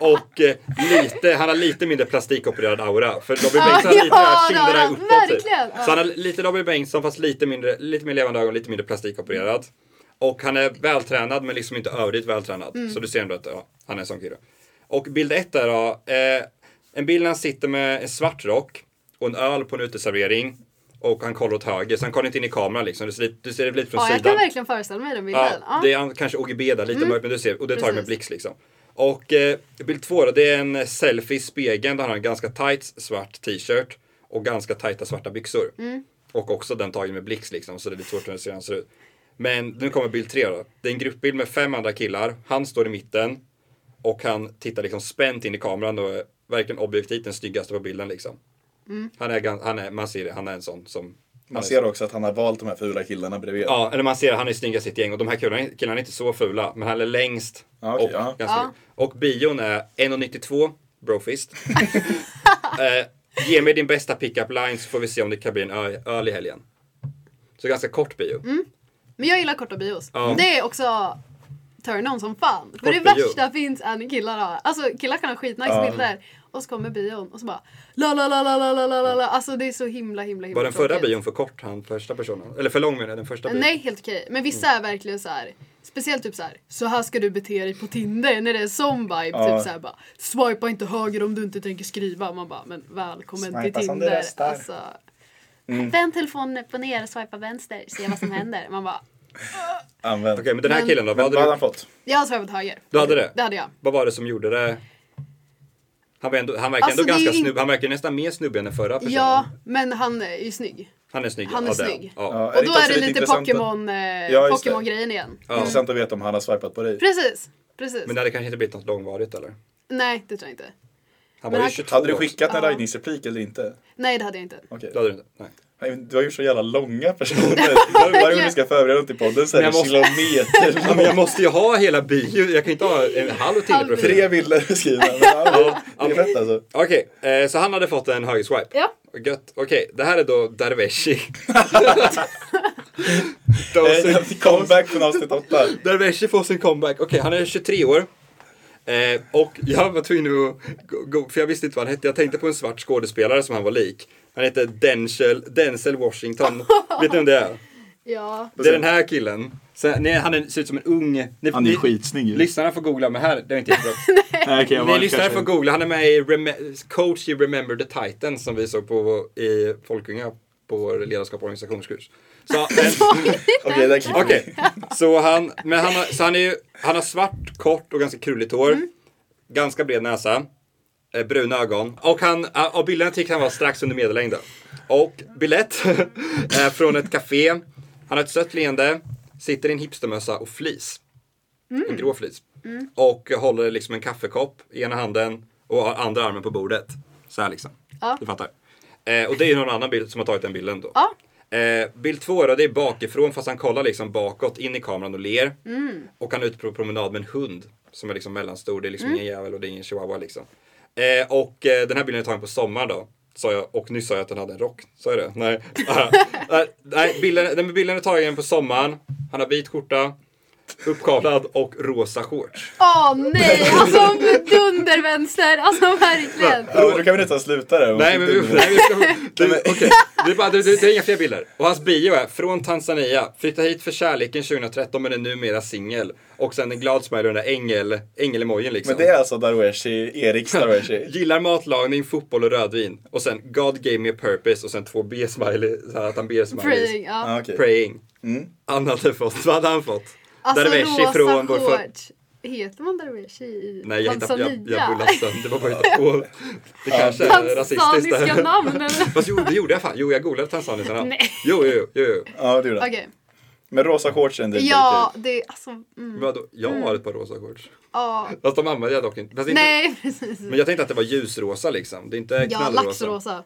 B: och eh, lite, han har lite mindre plastikopererad aura. För Robin Bengtsson har lite
A: Ah, ja,
B: här, kinderna
A: ja,
B: uppåt typ.
A: verkligen, ja.
B: Så han har lite Robin Bengtsson fast lite, mindre, lite mer levande ögon, lite mindre plastikopererad. Och han är vältränad men liksom inte överdrivet vältränad.
A: Mm.
B: Så du ser ändå att ja, han är en sån kille. Och bild ett där då. Eh, en bild när han sitter med en svart rock och en öl på en uteservering. Och han kollar åt höger, så han kollar inte in i kameran liksom. Du ser, du ser det lite från
A: Ja, jag
B: sidan.
A: kan verkligen föreställa mig den
B: Ja,
A: bilden. Ja. Mm.
B: det är an- kanske OGB där, lite mörkt, men du ser, och det tar du med
A: Precis.
B: blixt liksom. Och eh, bild två då, det är en selfie i spegeln där han har en ganska tight svart t-shirt och ganska tajta svarta byxor.
A: Mm.
B: Och också den tagen med blixt liksom, så det är lite svårt att se hur han ser ut. Men nu kommer bild tre då. Det är en gruppbild med fem andra killar. Han står i mitten och han tittar liksom spänt in i kameran och är
A: Mm.
B: verkligen objektivt den snyggaste på bilden liksom. Han är, gan- han är, man ser det, han är en sån som
C: Man ser också att han har valt de här fula killarna bredvid.
B: Ja, eller man ser att han är snyggast i ett gäng och de här killarna, killarna är inte så fula, men han är längst.
C: Ja, okej,
B: och,
C: ja.
B: ganska,
A: Ja.
B: och bion är 1,92, brofist. eh, ge mig din bästa pickup line så får vi se om det kan bli en ö- öl i helgen. Så ganska kort bio.
A: Mm, Men jag gillar korta bios.
B: Ja.
A: Det är också turn-on som fan. För det
B: Kort bio.
A: värsta finns är när killar har, alltså killar kan ha skitnice bilder och så kommer bion och så bara la la la la la la la la la. Alltså det är så himla himla himla
B: Var den förra
A: tråkigt. Eh,
B: bion för kort, han första personen? Eller för lång menar jag, den första bion.
A: Nej, helt okej. Men vissa
C: Mm.
A: är verkligen så här. Speciellt typ så här, så här ska du bete dig på Tinder när det är sån vibe.
C: Ja.
A: Typ så här bara, swipa inte höger om du inte tänker skriva. Man bara, men välkommen till
C: Swipa som du
A: Tinder.
C: röstar. Mm.
A: Alltså, Vänd telefonen upp och ner och swipa vänster, se vad som händer. Man bara,
C: Använd.
B: Okej, men den här
A: Men-
B: killen då?
C: Men
B: Vad
C: vad hade
B: hade
C: han
B: du,
C: fått?
A: jag har swipat höger.
B: du hade det?
A: Det hade jag.
B: Vad var det som gjorde det? Han, var ändå, han verkar
A: Alltså,
B: ändå
A: det är
B: ganska
A: ju in-
B: snubb, han verkar nästan mer snubbig än den förra personen.
A: Ja, men han är ju snygg.
B: Han är snygg.
A: Han är
B: ja, det han.
A: snygg.
B: Ja.
C: Ja,
A: Och då
C: inte
A: är
C: också
A: det lite
C: intressant att-
A: Pokémon, eh,
C: Ja, just det.
A: Pokémon-grejen igen.
C: Intressant att veta om han har swipat på dig.
A: Precis, precis.
B: Men det hade kanske inte blivit något långvarigt eller?
A: Nej, det tror jag inte. Men
B: Han var ju
A: han-
B: 22
C: Hade du
B: också.
C: skickat en
A: Ja.
C: raggningsreplik eller inte?
A: Nej, det hade jag inte.
C: Okej.
B: Det hade du inte. Nej.
C: Nej, men Du har gjort så jävla långa personer. Varje gång du ska förbereda något i podden så är det
B: Men jag
C: kilometer
B: Ja, men jag måste ju ha hela bio. Jag kan inte ha en halv timme
A: Halv
B: profil.
C: Tre bilder skrivna. Men ja, det är fett alltså.
B: Okej, eh, så han hade fått en högerswipe.
A: Ja.
B: Gött. Okej, det här är då Darveshi.
C: Eh, Comeback från avsnitt åtta.
B: Darveshi får sin comeback. Okej, han är 23 år. Eh, och jag var tvungen att go- go- för jag visste inte vad han hette. Jag tänkte på en svart skådespelare som han var lik. Han heter Denzel, Denzel Washington. Vet ni vem det är?
A: Ja.
B: Det är den här killen. Sen, nej, han är, ser ut som en ung... Ni,
E: Han är
B: ni-
E: skitsnygg ju.
B: Lyssnarna får googla, men här, det är inte jättebra.
E: Nej, okej, jag
B: Ni
E: var
B: lyssnare
E: kanske-
B: får googla, han är med i Rem- coach i Remember the Titans som vi såg på i Folkunga på vår ledarskap och organisationskurs. Så, men,
C: Okej, där klipper vi.
B: okej. så, han, men han, har, så han, är ju, han har svart, kort och ganska krulligt hår.
A: Mm.
B: Ganska bred näsa. eh, Bruna ögon. Och han, ah, av bilderna tycker han var strax under medellängden. Och biljett är från ett café. Han har ett sött leende. Sitter i en hipstermössa och flis.
A: Mm.
B: En grå flis. Och håller liksom en kaffekopp i ena handen och har andra armen på bordet. Så här liksom.
A: Ja.
B: Du fattar. Eh, och det är ju någon annan bild som har tagit den bilden då.
A: Ja.
B: Eh, bild två då, det är bakifrån fast han kollar liksom bakåt in i kameran och ler. Och han är ute på promenad med en hund som är liksom mellanstor. Det är liksom ingen jävel och det är ingen chihuahua liksom. Eh, och eh, den här bilden är tagen på sommaren då. Sa jag, och nyss sa jag att den hade en rock. Sa jag det? Nej. Ah, Nej, bilden, den här bilden är tagen på sommaren. Han har vit skjorta, uppkavlad och rosa shorts.
A: Åh nej, alltså dundervänster, alltså verkligen.
C: Ja, men då kan vi nästan sluta där.
B: Nej, men vi, nej, vi ska... Du, okej. det, är bara, det, det, det är inga fler bilder. Och hans bio är från Tanzania, flyttade hit för kärleken 2013 men är numera singel. Och sen en glad smiley och den där ängel, ängel-emojin liksom.
C: Men det är alltså Darweshi, Eriks Darweshi.
B: Gillar matlagning, fotboll och rödvin. Och sen God gave me a purpose och sen två B-smiley, så här att han ber smileys.
A: Praying, ja.
C: Ah, okej.
B: Praying. Han hade fått, vad hade han fått?
A: Alltså
B: Darwish
A: rosa
B: ifrån vår för-
A: shorts. Heter man Darwishi i
B: Nej, jag, hittar- jag, jag bullar
A: Tanzania?
B: sönder. Det var bara på. Det kanske är rasistiskt.
A: Tanzaniska
B: där.
A: namn eller?
B: Fast jo, det gjorde jag fan. Jo, jag googlade tanzaniska namn.
A: Nej.
B: Jo, jo, jo. jo.
C: Ja, det gjorde han.
A: Okej.
C: Men rosa shorts är en dealbreaker.
A: Ja, det är alltså... Mm,
B: Men vadå? Jag har ett par rosa shorts.
A: ja.
B: Fast de använde jag dock inte. Fast inte.
A: Nej, precis.
B: Men jag tänkte att det var ljusrosa liksom. Det är inte
A: Ja,
B: knallrosa.
A: laxrosa.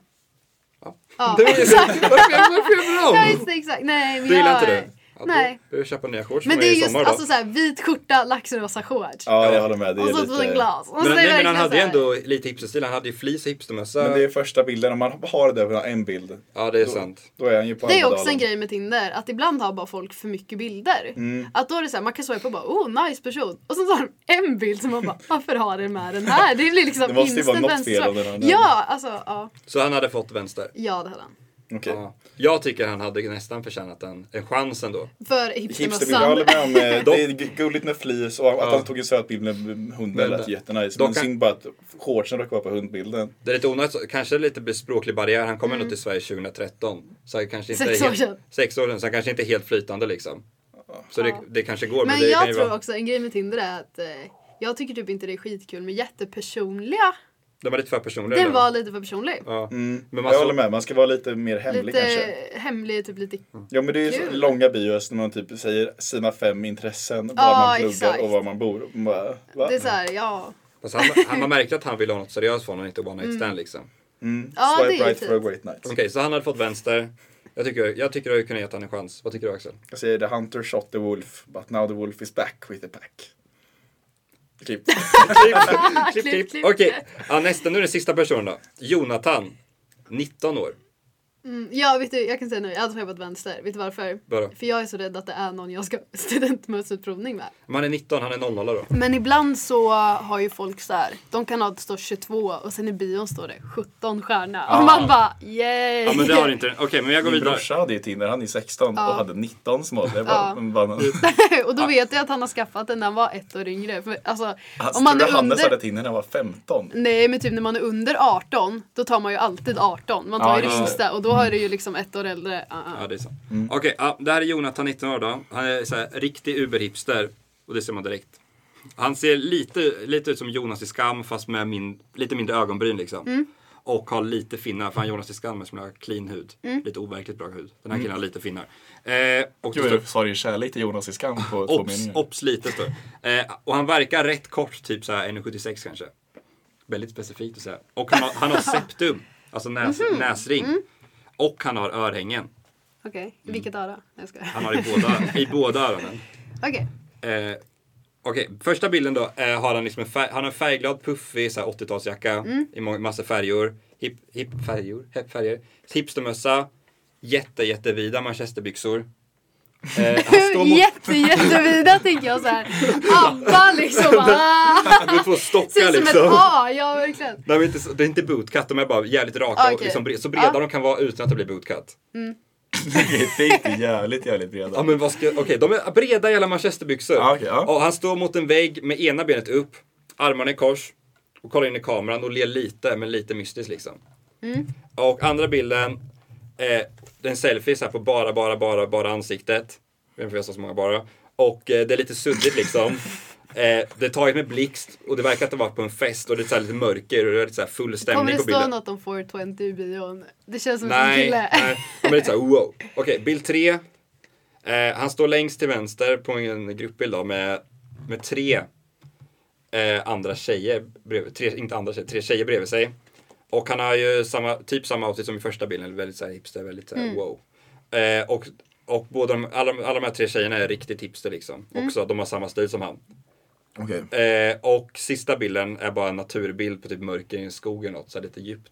B: Ja.
A: Ja,
B: Det var ju- Varför varför
A: Ja,
B: gör vi
A: just
B: dem?
A: det, exakt. Nej, men
B: Du gillar
A: jag-
B: inte det? Ja,
A: Nej.
B: Då får jag köpa nya shorts
A: Men
B: för
A: det
B: mig
A: är
B: i
A: just
B: sommar då.
A: alltså, såhär, vit skjorta, laxrosa shorts.
C: Ja, jag håller med. Det
A: och
C: är
A: så ett
C: lite...
A: litet glas. Och så
B: Men,
A: är det
B: nej, men han
A: verkligen
B: hade ju
A: såhär-
B: ändå lite hipsterstil. Han hade ju fleece och hipstermössa.
C: Men det är första bilden, om man har det över en bild,
B: Ja, det är sant.
C: då är han ju på
A: Det är
C: Almedalen.
A: också en grej med Tinder, att ibland har bara folk för mycket bilder.
C: Mm.
A: Att då är det så här, man kan swipa och bara oh nice person. Och sen så har de en bild som man bara varför har den med den här? Det blir liksom
C: Det måste ju vara
A: instant
C: något fel
A: vänster-
C: om den har den.
A: Ja, alltså ja.
B: Så han hade fått vänster.
A: Ja det hade han.
C: Okej.
B: Ja. Jag tycker han hade nästan förtjänat en, en chans ändå.
A: För
C: Hipster vill jag håller
A: hipstermössan.
C: med om. eh, Det är gu- gulligt med flis och att
B: Ja.
C: han tog en söt bild med hunden
B: Men-
C: lät jättenice.
B: Dock
C: Men
B: kan-
C: synd bara att shortsen råkar vara på hundbilden.
B: Det är lite onödigt, så- kanske lite språklig barriär. Han kom ändå till Sverige 2013. Så han kanske inte
A: Mm. Sex
B: är
A: år
B: helt,
A: sedan.
B: Sex år sedan, så han kanske inte är helt flytande liksom. Så det,
A: Ja.
B: det kanske går, men,
A: Men
B: det kan ju
A: jag tror
B: vara...
A: också en grej med Tinder är att eh, jag tycker typ inte det är skitkul med jättepersonliga.
B: Den var lite för personlig.
A: Den
B: eller?
A: var lite för personlig.
B: Ja. Men man
C: Mm. Jag
B: såg-
C: håller med, man ska vara lite mer hemlig
A: Lite
C: kanske.
A: hemlig, typ lite
C: Ja men det är ju så
A: Kul.
C: långa bios när man typ säger sina fem intressen, var
A: Ja,
C: man pluggar
A: exakt.
C: och var man bor. Man bara, va?
A: Det är såhär, ja.
B: Fast han, han, man märkte att han ville ha något
A: Mm.
B: seriöst från honom, inte one night stand liksom.
A: Ja, det
C: Swipe
A: är
C: right
A: fint.
C: for a great night.
B: Okej, så han hade fått vänster. Jag tycker, jag tycker att jag kunde gett han en chans. Vad tycker du Axel?
C: Jag säger the hunter shot the wolf, but now the wolf is back with the pack. Klipp.
A: Klipp, klipp, klipp.
B: Okej, ja, nästa. Nu är det sista personen då. Jonathan, 19 år.
A: Mm, ja, vet du, jag kan säga nu, jag hade skeppat vänster. Vet du varför?
B: Vadå?
A: För jag är så rädd att det är någon jag ska studentmötesutprovning med.
B: Men han är 19, han är 00 då.
A: Men ibland så har ju folk så här, de kan ha att det står 22 och sen i bion står det 17 stjärna. Och man bara yay!
B: Ah. Ja men det har inte Okej men jag går
C: Min
B: vidare.
C: brorsa hade ju Tinder, han är 16 och hade 19 som ålder. Jag
A: Ja.
C: bara, men bara,
A: och
B: Ah.
A: då vet jag att han har skaffat den när han var ett år yngre. För, alltså,
B: Ah,
C: Alltså,
A: om man
C: tror du
A: är
C: Hannes hade
A: under...
C: Tinder när han var 15.
A: Nej men typ när man är under 18 då tar man ju alltid 18. Man tar
C: Ja,
A: ju
B: Ah,
C: just
A: det
C: det.
A: sista och då har du ju liksom ett år äldre. Ah, ah.
B: Ja det är sant.
C: Mm.
B: Okej, ja, det här är Jonathan 19 år då. Han är så här, riktig uberhipster. Och det ser man direkt. Han ser lite, lite ut som Jonas i Skam fast med min, lite mindre ögonbryn liksom.
C: Mm.
B: Och har lite finnar, för han Jonas i Skam är som har clean hud.
C: Mm.
B: Lite overkligt bra hud. Den här killen har lite finnar. Eh, och det
C: Gud vad
B: står-
C: du sa din kärlek till Jonas i skam på två
B: Ops,
C: meningar.
B: ops lite står det. eh, Och han verkar rätt kort, typ så här 1,76 kanske. Väldigt specifikt att säga. Och han har, han har septum, alltså näs,
C: Mhm.
B: näsring.
C: Mm.
B: Och han har örhängen.
A: Okej, i vilket
B: Mm.
A: öra? Nej, jag skojar.
B: Han har i båda, i båda öronen.
A: Okej.
B: Eh, Okej, första bilden då eh, har han liksom en, färg, han har en färgglad, puffig så här 80-talsjacka
A: Mm.
B: i må- massa färger. Hip, hip, färger, hip, färger. Hipstermössa, jätte, jättevida manchesterbyxor. Eh, han står mot
A: Jätte, jättevida tänker jag så här. Abba liksom. Ah,
B: mot två stockar
A: ser ut som
B: liksom.
A: ett A, ja verkligen.
B: Nej, men inte, så- det är inte bootcut, de är bara jävligt raka
A: Ah,
B: och
A: okej.
B: liksom, bre- så breda
A: Ja.
B: de kan vara utan att det blir bootcut.
C: Det är inte jävligt, jävligt breda.
B: Ja men vad ska, okej, de är breda i alla manchesterbyxor.
C: Ja, okej, ja.
B: Och han står mot en vägg med ena benet upp, armarna i kors och kollar in i kameran och ler lite, men lite mystiskt liksom.
A: Mm.
B: Och andra bilden, eh, det är en selfie så här på bara, bara, bara, bara ansiktet. Jag vet inte varför jag sa så många bara. Och eh, det är lite suddigt liksom. Eh, det är taget med blixt och det verkar att det varit på en fest och det är så här lite mörker och det är lite så här full
A: Kommer
B: stämning
A: det
B: på
A: stå
B: bilden.
A: något om 420 i bion? Det känns som en
B: Nej,
A: kille.
B: nej. Men det är såhär, wow. Okej, bild tre. Eh, han står längst till vänster på en gruppbild då med, med tre eh, andra tjejer, bredvid, tre, inte andra tjejer, tre tjejer bredvid sig. Och han har ju samma, typ samma outfit som i första bilden, eller väldigt såhär hipster, väldigt såhär wow. Eh, och och båda de, alla, alla de här tre tjejerna är riktigt hipster liksom. Också, de har samma stil som han.
C: Okej.
B: Eh, och sista bilden är bara en naturbild på typ mörker i en skog eller något, så här lite djupt.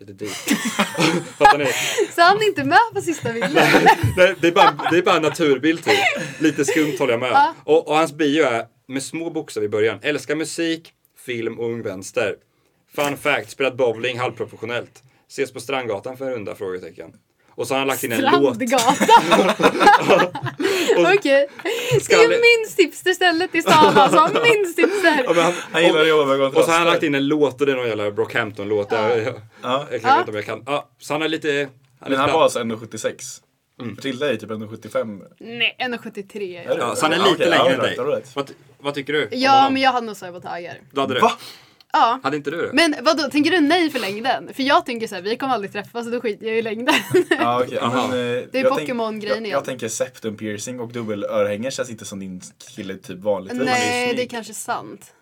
B: Lite deep. Fattar ni?
A: Så han är inte med på sista bilden.
B: Nej, det, är bara, det är bara en naturbild typ. Lite skumt håller jag med. Och, och hans bio är med små bokstäver i början. Älskar musik, film och ung vänster. Fun fact, spelat bowling halvprofessionellt. Ses på Strandgatan för en runda? Frågetecken. Och så har han lagt in en låt.
A: Strandgatan. Okej. Det är minst hipsterstället i stan alltså. Minst
B: Ja,
A: hipster.
B: men han,
C: Han gillar att jobba med
B: och, och så har han
C: kontraster.
B: lagt in en låt och det är någon jävla Brockhampton-låt. Jag, jag, jag, jag vet inte om jag kan. Ja, så han är lite... Han är
C: Men han
B: lite
C: var alltså 1,76. Matilda är ju typ 1,75.
A: Nej, 1,73.
C: Är det?
B: ja, så han är
C: Okej,
B: lite längre
C: all
B: än dig.
C: right, all right.
B: Vad, vad tycker du? om
A: Ja,
B: honom?
A: men jag hade nog sabotager.
B: Då hade du.
C: Va?
A: Ja.
B: Hade inte du det?
A: Men vadå, tänker du nej för längden? För jag tänker så här, vi kommer aldrig träffas och då skiter jag i längden.
C: Ja, okej.
B: Aha.
C: men, eh,
A: Det är
C: jag tänk-
A: Pokémon-grejen
C: jag,
A: igen.
C: jag tänker septum piercing och dubbelörhänge känns inte som din kille typ vanligtvis.
A: nej,
B: snygg.
A: det är kanske sant.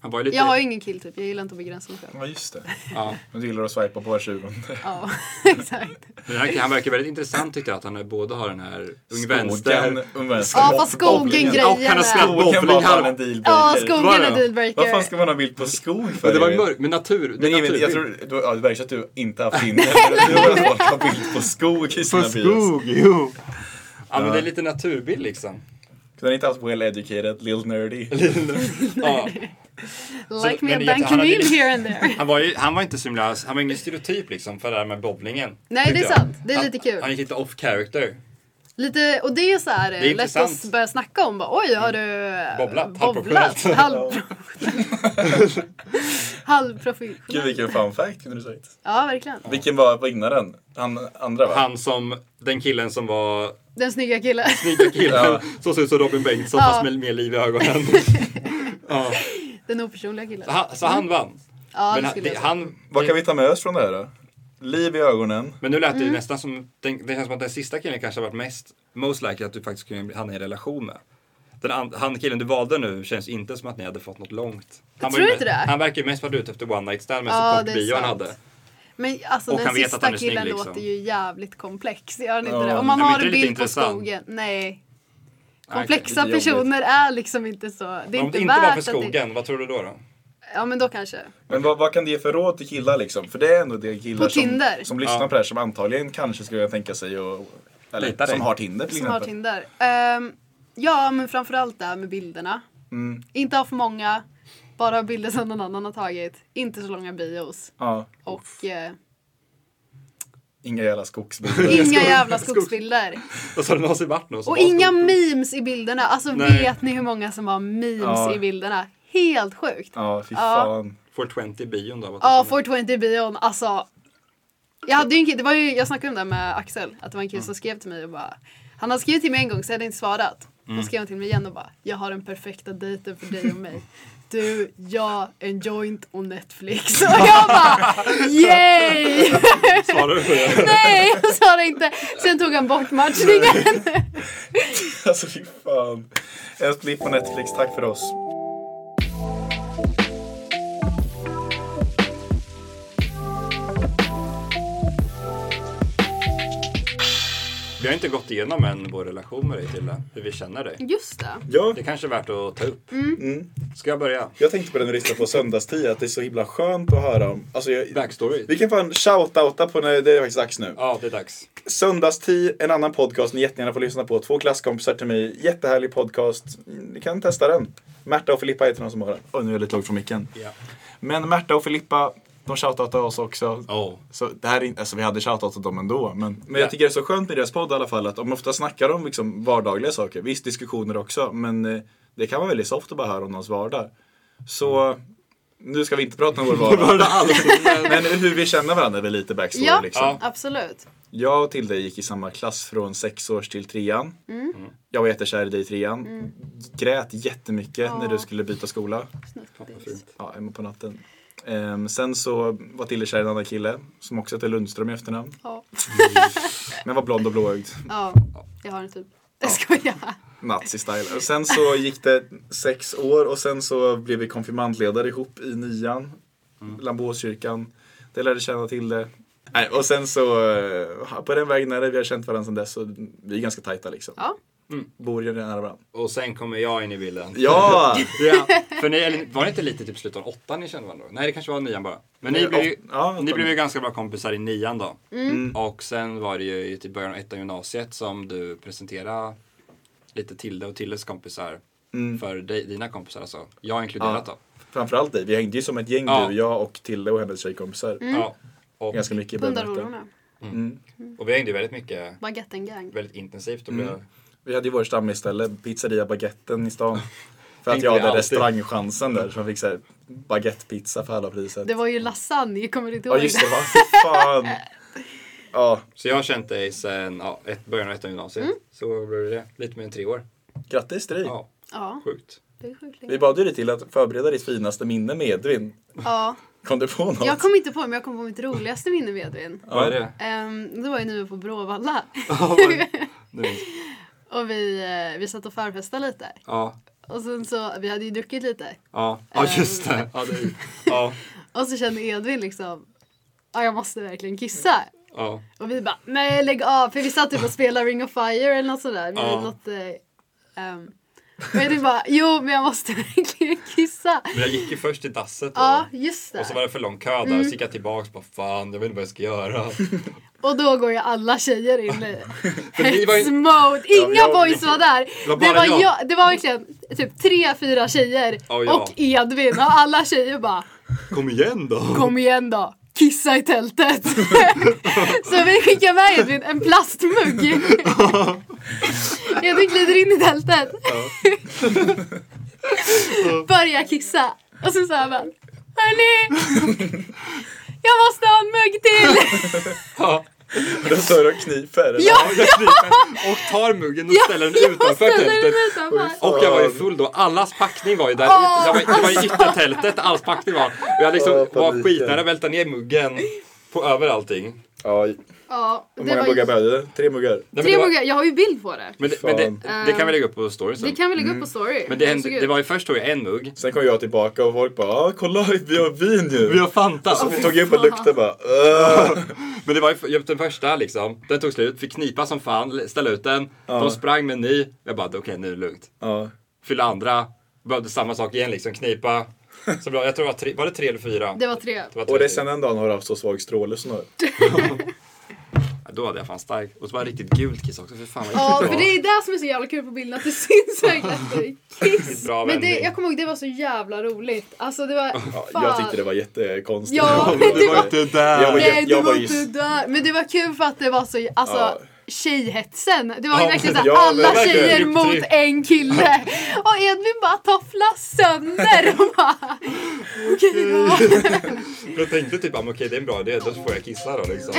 B: Han var ju lite...
A: Jag har ju ingen killtyp, jag gillar inte att begränsa mig själv.
C: Ja, just det.
B: ja.
C: Men du gillar att swipa på var tjugonde.
A: Ja, exakt.
B: Men Den här, killen, han verkar väldigt intressant tyckte jag, att han är- både har den här Ung
C: Skogen,
B: Vänster
C: ung vänster.
A: Ja, fast
C: Bowlingen.
A: skogen-grejen.
B: och han har spelat
A: är-
C: Skogen var
B: bowling.
C: fan
B: Han,
C: en dealbreaker.
A: Ja,
B: Var
A: skogen
B: det
A: är
B: då?
C: Vad fan
A: dealbreaker.
C: ska man ha bild på skog för?
B: men det var mörkt, men natur. Det
C: Men
B: är
C: Emil,
B: naturbild.
C: jag tror, du, ja, det verkar som att du inte har haft Tinder. men Du har folk har bild på skog i sina bios.
E: jo!
B: ja, men det är lite naturbild liksom.
C: Den är inte alls well educated, little nerdy.
B: Ja.
A: Like
B: Så-
A: me
B: men
A: a
B: det är
A: bank
B: jätte- han hade-
A: meal here and there.
B: Han, var ju, han var inte så himla, han var ingen stereotyp liksom för det här med bowlingen.
A: Nej,
B: tyckte
A: det är
B: jag.
A: sant. Det är
B: Han-
A: lite kul.
B: Han gick lite off character.
A: Lite, och det är så här, eh,
B: är
A: lätt
B: intressant. Mm.
A: att börja snacka om. Bara, Oj, har du eh,
B: Bobblat,
A: bobblat?
B: halvprofessionellt.
A: Halvprofessionellt.
C: Gud
A: Halvprofessionellt.
C: vilken fun fact kunde du sagt.
A: Ja, verkligen.
C: Vilken var vinnaren? Han andra va?
B: Han som, den killen som var
A: Den snygga killen.
B: snygga killen
C: Ja.
B: som såg ut som Robin Bengtsson
A: Ja.
B: fast med mer liv i ögonen. ja.
A: Den opersonliga killen.
B: så, han, så han vann.
A: Ja,
B: men
A: det
B: han,
A: skulle jag
B: det,
A: säga.
B: han,
C: Vad kan vi ta med oss från det här då? Liv i ögonen.
B: Men nu lät
A: Mm.
B: det ju nästan som, den- det känns som att den sista killen kanske har varit mest, most likely att du faktiskt kunde hamna i en relation med. Den and, han killen du valde nu känns inte som att ni hade fått något långt. Han
A: tror
B: ju
A: inte
B: mest-
A: det.
B: Han verkar ju mest vara ute efter one night stand med
A: Ja,
B: så kort
A: det är
B: bio han
A: sant.
B: hade.
A: Men alltså
B: Och
A: den
B: han vet
A: sista
B: att han är snygg,
A: killen
B: liksom.
A: låter ju jävligt komplex. Gör han inte
C: Ja.
A: det? Om man
B: Nej, men
A: har
B: inte
A: en
B: lite
A: bild på
B: intressant.
A: skogen. Nej.
B: okej,
A: Komplexa
C: lite jobbigt.
A: personer är liksom inte så. Det är
B: Om
A: inte
B: det inte var
A: värt
B: för
A: att
B: skogen, vad tror du då? då?
A: Det, ja men då kanske.
C: Men vad, vad kan det ge för råd till killar liksom? För det är ändå det killar
A: På
C: som,
A: Tinder.
C: som lyssnar
B: Ja.
C: på det här som antagligen kanske skulle kunna tänka sig och eller,
B: Dejta dig.
C: som har Tinder till
A: Som har
C: exempel.
A: Tinder. Ehm, ja men framförallt det här med bilderna.
C: Mm.
A: Inte ha för många. Bara ha bilder som någon annan har tagit. Inte så långa bios.
C: Ja,
A: Och eh,
C: inga jävla skogsbilder.
A: inga jävla skogsbilder.
B: Alltså, har det någonsin varit någon som
A: Och
B: har
A: inga
B: skog?
A: memes i bilderna. Alltså
B: Nej.
A: vet ni hur många som har memes
C: Ja.
A: i bilderna? Helt sjukt.
C: Ja, fy
A: Ja.
C: fan.
B: 420 i bion då? vad
A: Ja,
B: tycker du?
A: 420 bion. Alltså. Jag, hade ju en kille, det var ju, jag snackade om det här med Axel. Att det var en
C: Mm.
A: kille som skrev till mig och bara. Han har skrivit till mig en gång så jag hade inte svarat.
C: Mm.
A: Då skrev han till mig igen och bara. Jag har den perfekta dejten för dig och mig. Du, jag, en joint och Netflix. Och jag bara yay!
B: Svarar du på det?
A: Nej, jag svarade inte. Sen tog han bort matchningen.
C: Alltså fy fan. En split på Netflix, tack för oss.
B: Vi har inte gått igenom än vår relation med dig Tilda, hur vi känner dig.
A: Just det.
C: Ja,
B: Det kanske är värt att ta upp.
C: Mm.
B: Ska jag börja?
C: jag tänkte på den när jag lyssnade på söndagstio, att det är så himla skönt att höra om. Alltså, jag,
B: Backstory?
C: vi kan fan shout-outa på när det är faktiskt dags nu.
B: Ja, det är dags.
C: Söndagstid, en annan podcast ni jättegärna får lyssna på. Två klasskompisar till mig, jättehärlig podcast. Ni kan testa den. Märta och Filippa heter de som har den. Och nu är jag lite långt från micken.
B: Ja.
C: Men Märta och Filippa, de shoutoutade oss också.
B: Oh.
C: Så det här är, inte- alltså vi hade shoutoutat dem ändå. Men, men
B: Ja.
C: jag tycker det är så skönt med deras podd i alla fall att de ofta snackar om liksom vardagliga saker. Visst diskussioner också, men eh, det kan vara väldigt soft att bara höra om någons vardag. Så nu ska vi inte prata om vår vardag.
B: Ah,
C: men hur vi känner varandra är väl lite backstory
A: Ja.
C: liksom.
B: Ja.
A: Absolut.
C: Jag och Tilde gick i samma klass från sex års till trean. Jag var jättekär i dig i trean. Grät jättemycket när du skulle byta skola.
A: Snuttbis.
C: Ja, hemma på natten. Ehm, sen så var Tilde kär i en annan kille som också hette Lundström i efternamn.
A: Ja.
C: Men var blond och blåögd.
A: ja, jag har en typ. Jag skojar.
C: Nazi-style. Och Sen så gick det sex år och sen så blev vi konfirmandledare ihop i nian. Lambåskyrkan. Det lärde känna till det. Nej, och sen så, eh, på den vägen är det. Vi har känt varandra sedan dess och vi är ganska tajta liksom.
A: Ja.
C: Bor ju nära varandra.
B: Och sen kommer jag in i bilden.
C: Ja!
B: Ja, för ni, eller, var det inte lite typ slutet av åttan ni kände varandra? då? Nej, det kanske var nian bara. Men ni
C: Nej,
B: blev, ju,
C: åt- ja, åttan. Mm.
B: ni blev ju ganska bra kompisar i nian då. Och sen var det ju i typ början av ettan gymnasiet som du presenterade lite Tilde och Tilles kompisar för dig, dina kompisar alltså. Jag inkluderat
C: Mm. Ja.
B: då.
C: Framförallt dig. Vi hängde ju som ett gäng
B: Ja.
C: du, jag och Tilde och hennes tjejkompisar.
A: Mm.
B: Ja. Och,
C: Ganska mycket i början. Mm. av ettan.
A: Hundarororna.
B: och vi hängde ju väldigt mycket,
A: Baguetten gang.
B: väldigt intensivt. Och
C: Mm.
B: blev,
C: Vi hade ju vår stammisställe, pizzeria Baguetten i stan. För att
B: Tänkte
C: jag
B: vi
C: hade
B: alltid.
C: restaurangchansen där. Så man fick såhär baguettepizza för halva priset.
A: Det var ju lasagne, kommer du inte
C: Ja
A: ihåg
C: just det, va? Fy fan. Ja,
B: Så jag har känt dig sen ja, ett, början av ettan gymnasiet. Så blev det det. Lite mer än tre år.
C: grattis till dig.
B: Ja,
A: Ja,
B: sjukt.
A: det är sjukt länge.
C: Vi bad ju dig till att förbereda ditt finaste minne med Edvin.
A: Ja,
C: Kom du på något?
A: jag kom inte på det, men jag kom på mitt roligaste minne med Edvin.
B: Vad är det?
A: Um, det var ju nu på Bråvalla.
B: Ja, vad är det? Nu-
A: Och vi, eh, vi satt och förfestade lite.
B: Ja,
A: Och sen så, vi hade ju druckit lite.
B: ja,
A: Ehm.
B: ja just det. Ja, det ja,
A: Och så kände Edvin liksom, ja jag måste verkligen kissa.
B: ja.
A: Och vi bara, nej lägg av. För vi satt typ och spelade Ring of Fire eller något sådär. Vi
B: Ja.
A: något, eh, ehm, och Edvin bara, jo men jag måste verkligen kissa.
B: Men jag gick ju först till dasset då.
A: Ja, Mm. just
B: Och så
A: det.
B: var det för lång kö där, så gick jag tillbaks och bara fan, jag vet inte vad jag ska göra.
A: Och då går ju alla tjejer in i
B: vi var ju-
A: hets mode. Inga
C: jag-
A: boys var där.
B: var bara
A: Det var,
B: jag.
A: jag, det var verkligen typ tre, fyra tjejer
B: Ja, ja.
A: och Edvin. Och alla tjejer bara
B: Kom igen då!
A: kom igen då. Kissa i tältet. så vi skickar med Edvin en plastmugg. Edvin glider in i tältet. Börjar kissa. Och sen så här bara. Hörni! Jag måste ha en mugg till!
B: Ja,
C: Då står du och kniper. eller?
A: Ja,
B: jag kryper och tar muggen och ställer den utanför
A: ställer den
B: tältet.
A: utanför.
B: Och jag var ju full då, allas packning var ju där.
A: Åh,
B: det, var, det var i
A: alltså.
B: yttertältet alls packning var. Och jag liksom
C: Åh,
B: var
C: paniken.
B: skitnära att välta ner muggen på över allting.
C: Ja,
A: Ja,
C: Hur
A: det
C: många
A: var ju-
C: muggar blev det? Tre muggar?
B: men
A: Tre
B: det var-
A: muggar, jag har ju bild på det.
B: Men, det, men det,
C: Fan.
B: det kan vi lägga upp på storyn sen.
A: Det kan vi lägga upp på story.
B: Men det,
A: Hur
B: hände,
A: såg
B: det
A: ut.
B: var ju först tog jag en mugg.
C: Sen kom jag tillbaka och folk bara ah, kolla vi har vin ju.
B: har Fanta.
C: Så vi tog upp och luktade bara "Åh."
B: Men det var ju jag- den första liksom. Den tog slut, fick knipa som fan, ställa ut den. De sprang med en ny. Jag bara okej nu är det lugnt.
C: ja.
B: Fylla andra, behövde samma sak igen liksom, knipa. Så bra, jag tror det var tre, var det tre eller fyra?
A: det var tre.
B: var tre.
C: Och det är sen den dagen har du haft så svag stråle som du har.
B: Ja, Då hade jag fan stark. Och så var det riktigt gult kiss också, för fan vad
A: Ja,
B: äckligt
A: för det är det som är så jävla kul på bilden, att det syns verkligen att det är kiss.
B: Bra
A: Men det,
B: vändning.
A: jag kommer ihåg, det var så jävla roligt. Alltså det var...
C: Ja,
A: fan.
C: jag tyckte det var jättekonstigt.
A: Ja, men det var...
B: inte där!
C: Jag var,
A: Nej,
C: jag,
A: det
C: jag var
A: var
C: ju
A: inte där. Men det var kul för att det var så... Alltså,
C: Ja.
A: tjejhetsen. Det var ju
B: Ja,
A: verkligen
B: men-
A: såhär,
C: ja, men
A: alla
B: verkligen.
A: tjejer mot
B: Grupptryck.
A: en kille. Och Edvin bara tofflar sönder och bara... Okej då.
B: Jag tänkte typ, ah, men okej det är en bra idé, då får jag kissa då liksom.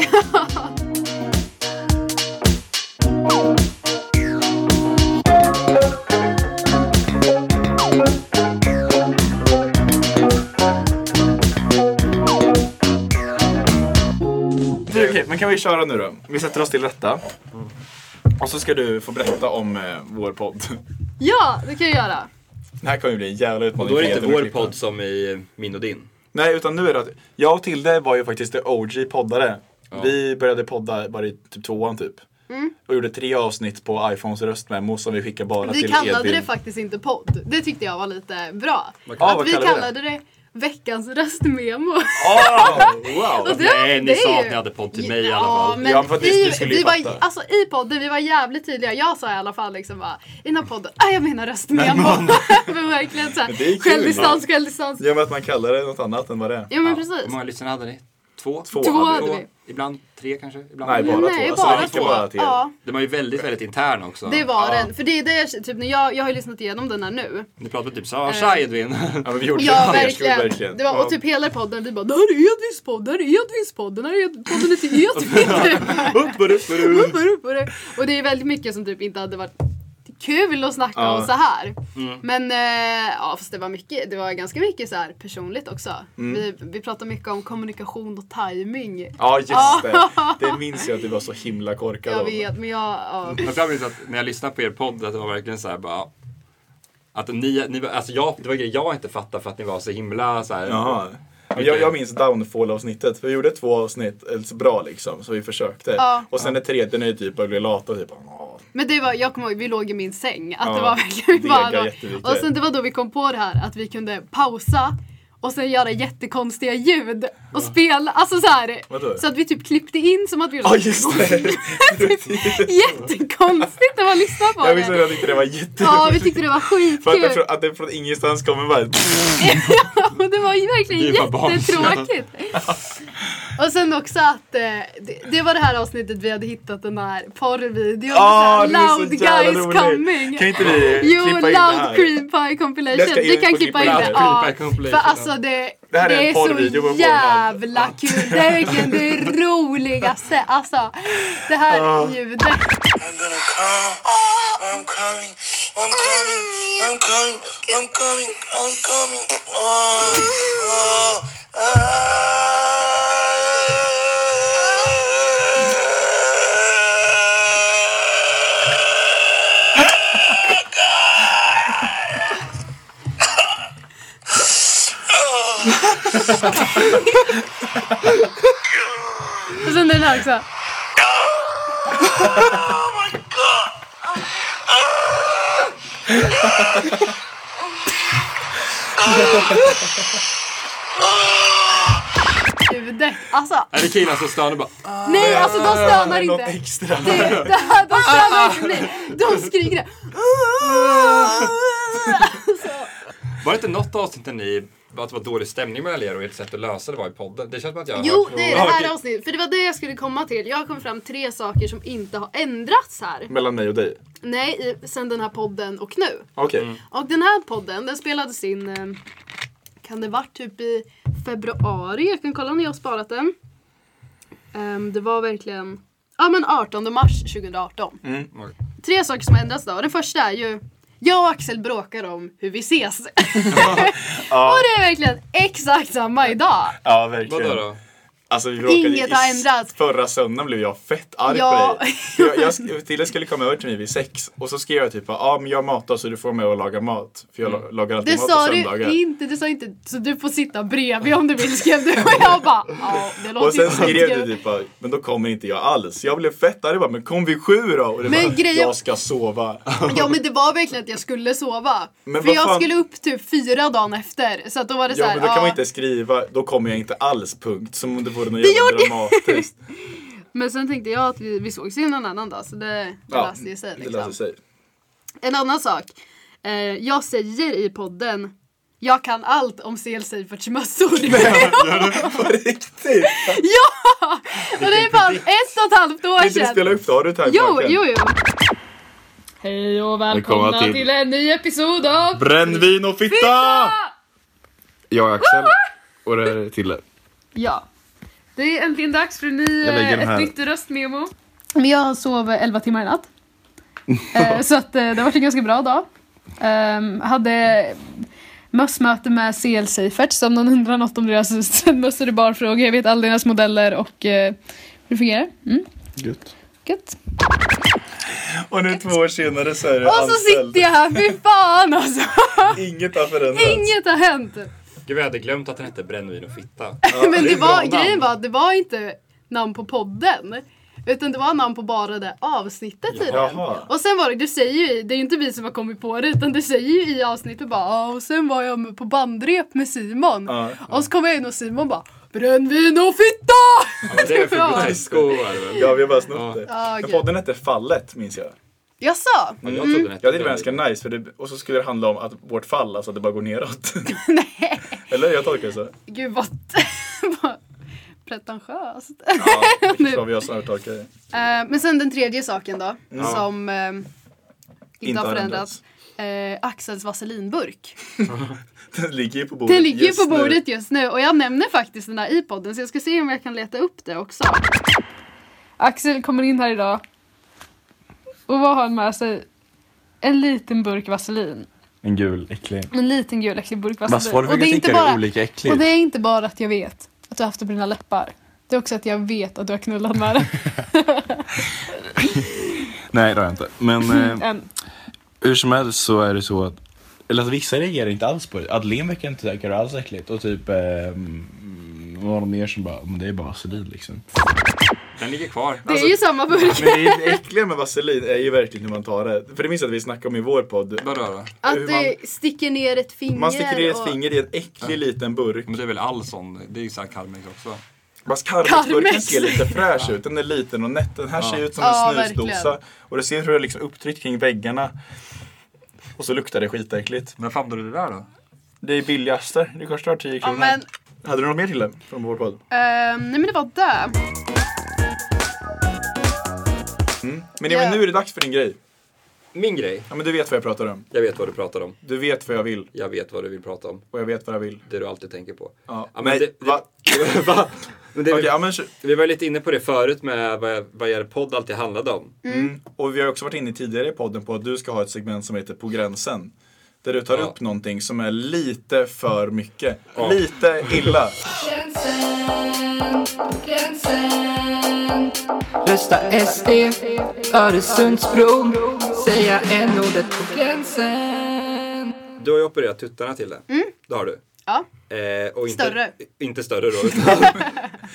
C: Du, Okej, men kan vi köra nu då? Vi sätter oss till rätta. Och så ska du få berätta om eh, vår podd.
A: Ja, det kan jag göra.
C: Det här kommer ju bli en jävla
B: Och
C: utmaning.
B: då är det
C: för
B: inte
C: Edvin att
B: vår
C: klippa.
B: podd som i min och din.
C: Nej, utan nu är det att jag och Tilde var ju faktiskt the OG poddare.
B: Ja.
C: Vi började podda bara i typ tvåan typ.
A: Mm.
C: Och gjorde tre avsnitt på iPhones röstmemo som vi skickade bara
A: Vi
C: till
A: kallade
C: Edvin.
A: det faktiskt inte podd. Det tyckte jag var lite bra.
C: Ja,
A: att
C: vad
A: vi
C: kallar vi det?
A: kallade det veckans röstmemo.
C: Ah, wow!
A: Och det-
B: Nej,
A: det
B: ni
A: är
B: sa
A: ju-
B: att ni hade podd till mig i alla
A: Ja,
B: fall.
A: men
C: Ja, för att ni-
A: vi,
C: ni skulle ju
A: vi var,
C: fatta.
A: alltså, I podden vi var jävligt tydliga. Jag sa i alla fall liksom bara, i den här podden, ah, jag menar röstmemo. men verkligen så här,
C: Men det är kul,
A: självdistans, självdistans.
C: I och med att man kallar det något annat än vad det är.
A: Ja men
B: Ja,
A: precis.
B: Hur många lyssnare hade ni? Två?
C: Två
A: Två
C: hade
A: hade vi.
B: Ibland tre kanske? Ibland
C: Nej,
B: fyra.
C: bara
A: Nej,
C: två. Alltså,
A: bara
C: det
A: två.
C: räcker bara till er.
A: Ja,
B: Den var ju väldigt, väldigt intern också.
A: det var
C: Ja.
A: den. För det är det jag, typ, när jag, jag har ju lyssnat igenom den här nu.
B: Ni pratade typ såhär, tja Edvin.
C: Ja, men vi gjorde
A: Ja,
C: det. Det skulle vi
A: verkligen. Det var, och
C: Ja.
A: typ hela podden, vi bara “Där är Edvins podd, där är Edvins podd, den här Ed- podden E är till Edvin”.
B: Upp och upp och upp.
A: Upp och upp och upp. Och det är väldigt mycket som typ inte hade varit kul att snacka
C: Ja.
A: om så här. Men eh, ja, fast det var mycket, det var ganska mycket så här personligt också. Vi, vi pratade mycket om kommunikation och timing.
C: Ja, just det. Det minns jag att du var så himla korkad
A: Jag
C: av.
A: vet, men jag... Ja.
B: Men jag minns att när jag lyssnade på er podd att det var verkligen så här bara att ni, ni var- alltså jag, det var grejer jag inte fattade för att ni var så himla så här.
C: Jaha. Men Jag, jag minns downfall-avsnittet. Vi gjorde två avsnitt eh, så bra liksom, så vi försökte.
A: Ja.
C: Och sen det tredje när vi typ började bli lata. Typ, "Ah,
A: Men det var, jag kommer ihåg, vi låg i min säng. Att
C: Ja,
A: det var verkligen
C: dega
A: bara
C: jättemycket.
A: Och sen det var då vi kom på det här att vi kunde pausa och sen göra jättekonstiga ljud och spela, alltså så här.
C: Vadå?
A: Så att vi typ klippte in som att vi gjorde
C: Ja, just det.
A: jättekonstigt när man lyssnar på
C: Jag visste att
A: det.
C: jag tyckte det var jätteroligt.
A: Ja, vi tyckte det var
C: För att, det
A: skitkul.
C: från, att det från ingenstans kommer bara ett...
A: Och det var ju verkligen
B: Det var barn.
A: jättetråkigt. Och sen också att eh, det, det var det här avsnittet vi hade hittat den här porrvideon.
C: Ah,
A: så
C: det är
A: här, loud
C: så jävla
A: guys
C: roligt.
A: coming.
C: Kan inte vi
A: Jo,
C: klippa in det
A: Loud
C: här?
A: Cream Pie Compilation.
C: Jag ska
A: Vi
C: in
A: kan
C: och
A: klippa in
C: klippa
A: det.
C: in
A: Ja.
B: Cream Pie
A: För
B: Compilation.
A: alltså det,
C: Det här är en porrvideo på
A: så
C: Pornhub.
A: jävla kul. Det är verkligen det roligaste. Alltså det här ljudet.
F: I'm gonna come. I'm coming. I'm coming. I'm coming. I'm coming. I'm coming. Oh, oh, ah.
A: Och sen den här
C: Oh
A: också. Ljudet. Alltså
B: Är det killar som stönar bara
A: nej, alltså de stönar
C: Något
A: inte.
C: extra.
A: Det, det här, de stönar inte. Nej, de skriker det.
B: Var det inte något avsnitt där ni att det var dålig stämning mellan er och ert sätt att lösa det var i podden? Det känns som att jag har
A: Jo,
B: hört-
A: det är det
B: Ja,
A: här avsnittet. För det var det jag skulle komma till. Jag kom fram tre saker som inte har ändrats här.
C: Mellan mig och dig.
A: Nej, i- sen den här podden och nu.
C: Okej.
A: Och den här podden, den spelades in, eh, kan det varit typ i februari? Jag kan kolla när jag har sparat den. Ehm, det var verkligen, ja men 18 mars 2018.
B: Mm, okej.
A: Tre saker som har ändrats då. Den första är ju, jag och Axel bråkar om hur vi ses. och det är verkligen exakt samma idag.
C: Ja, verkligen.
B: Vadå då?
C: Alltså, vi råkade,
A: Inget
C: i-
A: har ändrats.
C: Förra söndagen blev jag fett arg
A: Ja.
C: på dig. Jag, jag, sk- Tilde skulle komma över till mig vid sex och så skrev jag typ ja ah, men jag matar så du får med och laga mat. För jag la- lagar alltid
A: Mm. Det
C: mat
A: sa
C: på
A: du
C: söndagar.
A: inte, du sa inte så du får sitta bredvid om du vill skrev du och jag bara ja det låter
C: Och sen
A: ju skitkul."
C: skrev du typ bara, men då kommer inte jag alls. Jag blev fett arg bara, men kom vid sju då? Och det
A: Men
C: bara,
A: grejen-
C: jag ska sova.
A: Ja men det var verkligen att jag skulle sova.
C: typ. Men
A: För
C: vad
A: jag
C: fan-
A: skulle upp typ fyra dagen efter så att då var det så
C: Ja
A: här,
C: men då kan
A: ja.
C: man inte skriva, då kommer jag inte alls punkt. Som om det vore något
A: Det
C: jävla
A: gjorde-
C: dramatiskt.
A: Men sen tänkte jag att vi, vi sågs ju en annan dag så det
C: Ja,
A: löste ju sig.
C: Det löser
A: Liksom.
C: sig.
A: En annan sak. Eh, jag säger i podden jag kan allt om CL Seiferts mössor.
C: På riktigt!
A: Och det är fan ett och ett halvt år
C: Kan inte du
A: sedan.
C: spela upp det? Har du det här
A: Jo,
C: framför?
A: jo, jo. Hej och välkomna,
E: Välkomna till-
A: till... en ny episod av
E: Brännvin och fitta! Jag är Axel. Och det här är Tille.
A: Ja. Det är äntligen dags för en ny,
E: Jag lägger
A: eh,
E: den här.
A: ett nytt röstmemo. Men jag sov 11 timmar i natt. Eh, så att, eh, det har varit en ganska bra dag. Ehm, hade mössmöte med CL Seifert, så om någon undrar något om deras mössor i barfrågor. Jag vet alla deras modeller och eh, hur det fungerar. Mm.
E: Gött.
A: Gött.
C: Och nu två år senare så är du
A: Och så
C: anställd.
A: sitter jag här, fy fan alltså!
C: Inget har förändrats.
A: Inget har hänt!
B: Gud, jag hade glömt att den hette Brännvin och fitta.
A: Men
C: det är
A: det var,
C: bra namn.
A: grejen var att det var inte namn på podden. Utan det var namn på bara det avsnittet i den.
C: Jaha.
A: Och sen var det, du säger ju, i- det är ju inte vi som har kommit på det utan du säger ju i avsnittet bara "Ja, och sen var jag med- på bandrep med Simon.
C: Ja,
A: Och så kom jag in och Simon bara Brännvin och fitta!
B: Ja, men det är för
A: Ja.
B: grotesko var det väl?
C: Ja, vi har bara snott det.
A: Ja,
C: Men
A: gud. Mm.
C: podden hette Fallet, minns jag.
A: Jaså?
B: Ja, jag trodde den hette
C: Ja, det var
B: Brännvin.
C: ganska nice. För det, och så skulle det handla om att vårt fall, alltså att det bara går neråt. Eller? Jag tolkar det så.
A: Gud vad, vad pretentiöst.
C: Ja,
A: Nu.
C: det var vi jag som övertolkade det.
A: Eh, men sen den tredje saken då som eh, inte,
C: Inte
A: har
C: har
A: förändrats. Eh, Axels vaselinburk.
C: Den ligger ju på bordet
A: Den ligger ju
C: just
A: på
C: nu.
A: bordet just nu och jag nämner faktiskt den här i podden så jag ska se om jag kan leta upp det också. Axel kommer in här idag. Och vad har han med sig? En liten burk vaselin.
G: En gul, äcklig.
A: En liten gul äcklig burk
G: Vad
A: vaselin.
G: svårt att
A: är
G: tycka det är olika
A: och
G: äckligt.
A: det är inte bara att jag vet att du har haft det på dina läppar. Det är också att jag vet att du har knullat med det.
G: Nej det har jag inte. Men eh,
A: Än.
G: hur som helst så är det så att eller att vissa reagerar inte alls på det. Adeline verkar inte tycka det alls äckligt. Och typ, eh, mm, var de mer som bara, men det är bara vaselin liksom.
B: Den ligger kvar. Alltså,
A: Det är ju samma burk.
C: Men det äckliga med vaselin är ju verkligen hur man tar det. För det minns jag att vi snackade om i vår podd.
B: Vadå då?
A: Att
C: hur
A: du sticker ner ett finger.
C: Man sticker ner ett
A: och-
C: finger i en äcklig liten burk.
B: Men det är väl all sån, det är ju såhär Carmex också.
C: Fast
A: Karmex.
C: karmex ser lite fräsch ut. Den är liten och nätt. Den här ser ut som en
A: Ja,
C: snusdosa.
A: verkligen.
C: Och du ser hur det är liksom upptryckt kring väggarna. Och så luktar det skitäckligt.
B: När fan du det där då?
C: Det är billigaste. Det kostar 10
A: Ja,
C: kronor.
A: men,
C: Hade du något mer till det från vår podd?
A: ehm, nej men det var det.
C: Men Emil,
A: Ja.
C: nu är det dags för din grej.
B: Min grej.
C: Ja, men du vet vad jag pratar om.
B: Jag vet vad du pratar om.
C: Du vet vad jag vill.
B: Jag vet vad du vill prata om.
C: Och jag vet vad jag vill.
B: Det du alltid tänker på.
C: Ja.
B: men
C: Nej,
B: det- det-
C: va?
B: Va? Men det,
C: Okej, ja, men, kö-
B: Vi var ju lite inne på det förut med vad, vad er podd alltid handlade om.
C: mm. Och vi har också varit inne tidigare i podden på att du ska ha ett segment som heter På gränsen. Där du tar
B: Ja.
C: upp någonting som är lite för mycket. Lite illa.
H: Rösta SD, Öresundsbron, säga en ordet på gränsen.
B: Du har ju opererat tuttarna till det. Det har du.
A: Ja.
B: Eh, och inte,
A: Mm. Större.
B: Inte större då. utan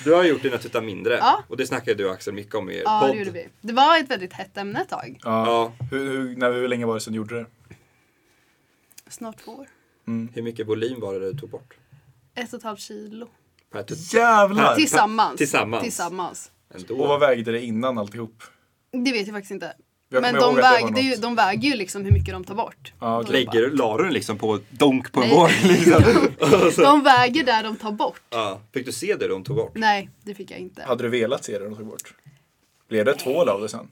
B: du har gjort dina tuttar mindre.
A: Ja.
B: Och det snackade du och Axel mycket om i er
A: Ja,
B: podd.
A: det gjorde vi. Det var ett väldigt hett ämne ett tag.
C: Ja.
B: Ja,
C: Hur, hur, när, hur länge var det sedan du gjorde det?
A: Snart två år.
B: hur mycket volym var det du tog bort?
A: Ett och ett halvt kilo.
B: Per tutt?
C: Jävlar!
A: Tillsammans.
B: Tillsammans.
A: Tillsammans.
C: Och vad
B: Ändå.
C: vägde det innan alltihop?
A: Det vet jag faktiskt inte.
C: Jag
A: Men
C: kommer
A: de,
C: ihåg att det var
A: vägde ju,
C: något.
A: de väger ju liksom hur mycket de tar bort.
C: Ja, okej.
B: Lägger du, la du den liksom på donk på en
A: Nej.
B: våg? Liksom.
A: De väger där de tar bort.
B: ja. Fick du se det de tog bort?
A: Nej, det fick jag inte.
C: Hade du velat se det de tog bort? Blev det tvål av det sen?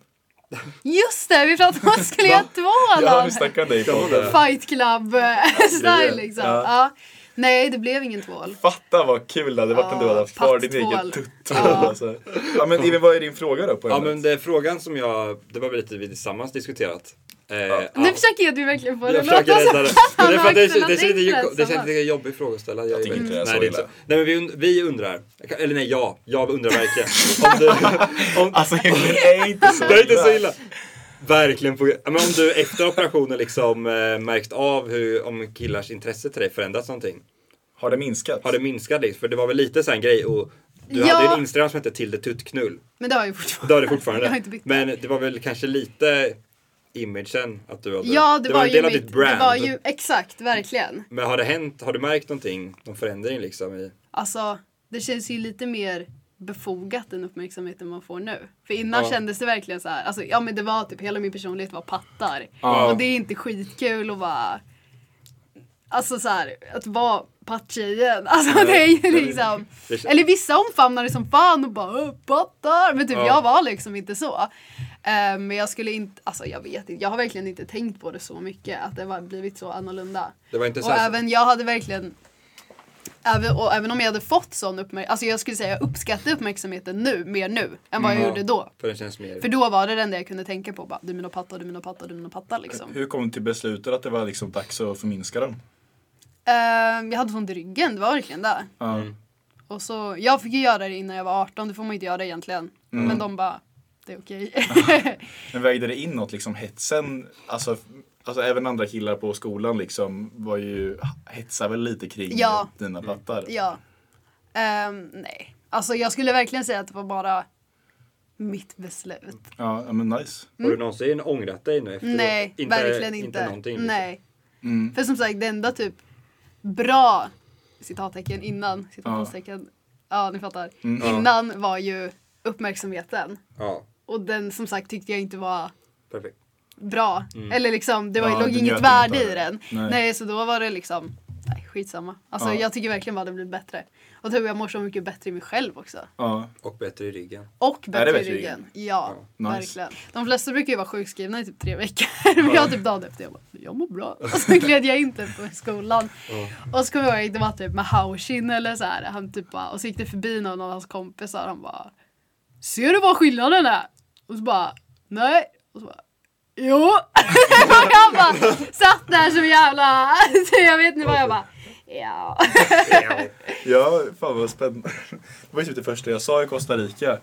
A: Just det, vi pratade om att man skulle göra två
C: Ja,
A: Allan.
C: vi snackade dig på det.
A: Fight club-style
C: Grejer.
A: liksom.
C: Ja.
A: Ja. Nej, det blev ingen tvål.
C: Fatta vad kul det hade varit om du hade haft kvar din
A: pattvål.
C: egen tuttvål. Alltså. Ja men Emil, vad är din fråga då? På
B: Ja
C: ämnet?
B: men det är frågan som jag, det var väl lite vi tillsammans diskuterat. Eh, Eh,
A: Nu
B: ja.
A: försöker Edvin verkligen få det
B: Jag
A: att låta
B: försöker
A: som
B: rädda det. Men det är för att det
A: han
B: känns det
A: har
B: känns
A: tänkt
B: lite,
A: rätt
B: det känns
A: samma.
B: lite jobbig fråga att ställa. Jag,
C: tycker inte det är
B: Nej,
C: så
B: det är inte så.
C: illa.
B: Nej, men vi, und- vi undrar. Eller nej, jag. Jag undrar verkligen. Om du, om,
E: Alltså det är inte så
B: det är inte så illa. Verkligen. På, ja, men om du efter operationen liksom eh, märkt av hur, om killars intresse till dig förändrats någonting.
C: Har det minskat?
B: Har det minskat lite? För det var väl lite så här en grej och du
A: Ja.
B: hade ju en Instagram som hette Tilde Tuttknull.
A: Men det har jag ju fortfarande.
B: Det har du
A: Jag har
B: fortfarande.
A: inte bytt.
B: Men det var väl kanske lite imagen att du hade.
A: Ja, det, var,
B: en del
A: ju
B: av
A: mitt,
B: ditt brand.
A: det var ju exakt, verkligen.
B: Men har det hänt, har du märkt någonting, någon förändring liksom i?
A: Alltså, det känns ju lite mer befogat den uppmärksamheten man får nu. För innan
B: Ja.
A: kändes det verkligen så här, alltså ja men det var typ hela min personlighet var pattar. Och det är inte skitkul att vara, alltså så här, att vara patttjejen. Alltså det är ju liksom,
B: Det-
A: eller vissa omfamnar det som fan och bara "Åh, pattar. Men typ
B: Ja.
A: jag var liksom inte så. Eh, men jag skulle inte, alltså jag vet inte, jag har verkligen inte tänkt på det så mycket att det har blivit så annorlunda.
B: Det var inte så
A: Och
B: här-
A: även jag hade verkligen Även, och även om jag hade fått sån uppmärksamhet, alltså jag skulle säga jag uppskattar uppmärksamheten nu, mer nu, än vad jag
B: Ja.
A: gjorde då.
B: För den känns mer...
A: För då var det den där jag kunde tänka på, bara, du är min och patta, du är min och patta, du är min och patta liksom.
C: Hur kom du till beslutet att det var liksom dags att förminska dem?
A: Ehm, jag hade ont i ryggen, det var verkligen det. Och så, jag fick ju göra det innan jag var 18, det får man inte göra egentligen. Men de bara, det är okej.
C: Men vägde det in något liksom hetsen? Alltså, alltså även andra killar på skolan liksom var ju hetsade väl lite kring
A: Ja.
C: dina pattar?
A: ja. Ehm, nej. Alltså jag skulle verkligen säga att det var bara mitt beslut.
C: Ja, ja, men nice.
B: Har du någonsin ångrat dig nu efteråt?
A: Nej, verkligen inte.
B: Inte någonting? liksom.
A: Nej. För som sagt, det enda typ bra citattecken innan, citationstecken, ja ni fattar, innan var ju uppmärksamheten.
B: Ja,
A: Och den som sagt tyckte jag inte var
B: perfekt.
A: bra. Eller liksom, det var,
C: Ja,
A: låg
C: du
A: inget
C: njöt
A: värde
C: inte av
A: i
C: det.
A: den. Nej. så då var det liksom, nej skitsamma. Alltså jag tycker verkligen bara det blivit bättre. Och typ jag mår så mycket bättre i mig själv också.
C: Ja,
B: Och bättre i ryggen.
A: Och
C: det
A: bättre i
C: vet vi
A: ryggen. Ja,
C: Ja, nice.
A: verkligen. De flesta brukar ju vara sjukskrivna i typ tre veckor. Men jag typ dagen efter, jag bara, jag mår bra. Och så gled jag inte på skolan. Och så kommer jag ihåg, det var typ med Haushin eller så här. Han typ bara, och så gick det förbi någon av hans kompisar. Han bara, ser du vad skillnaden är? Och så bara, nej. Och så bara, jo. och jag bara satt där som jävla, så jag vet inte vad jag bara, ja.
C: ja fan vad spännande. Det var ju typ det första jag sa i Costa Rica.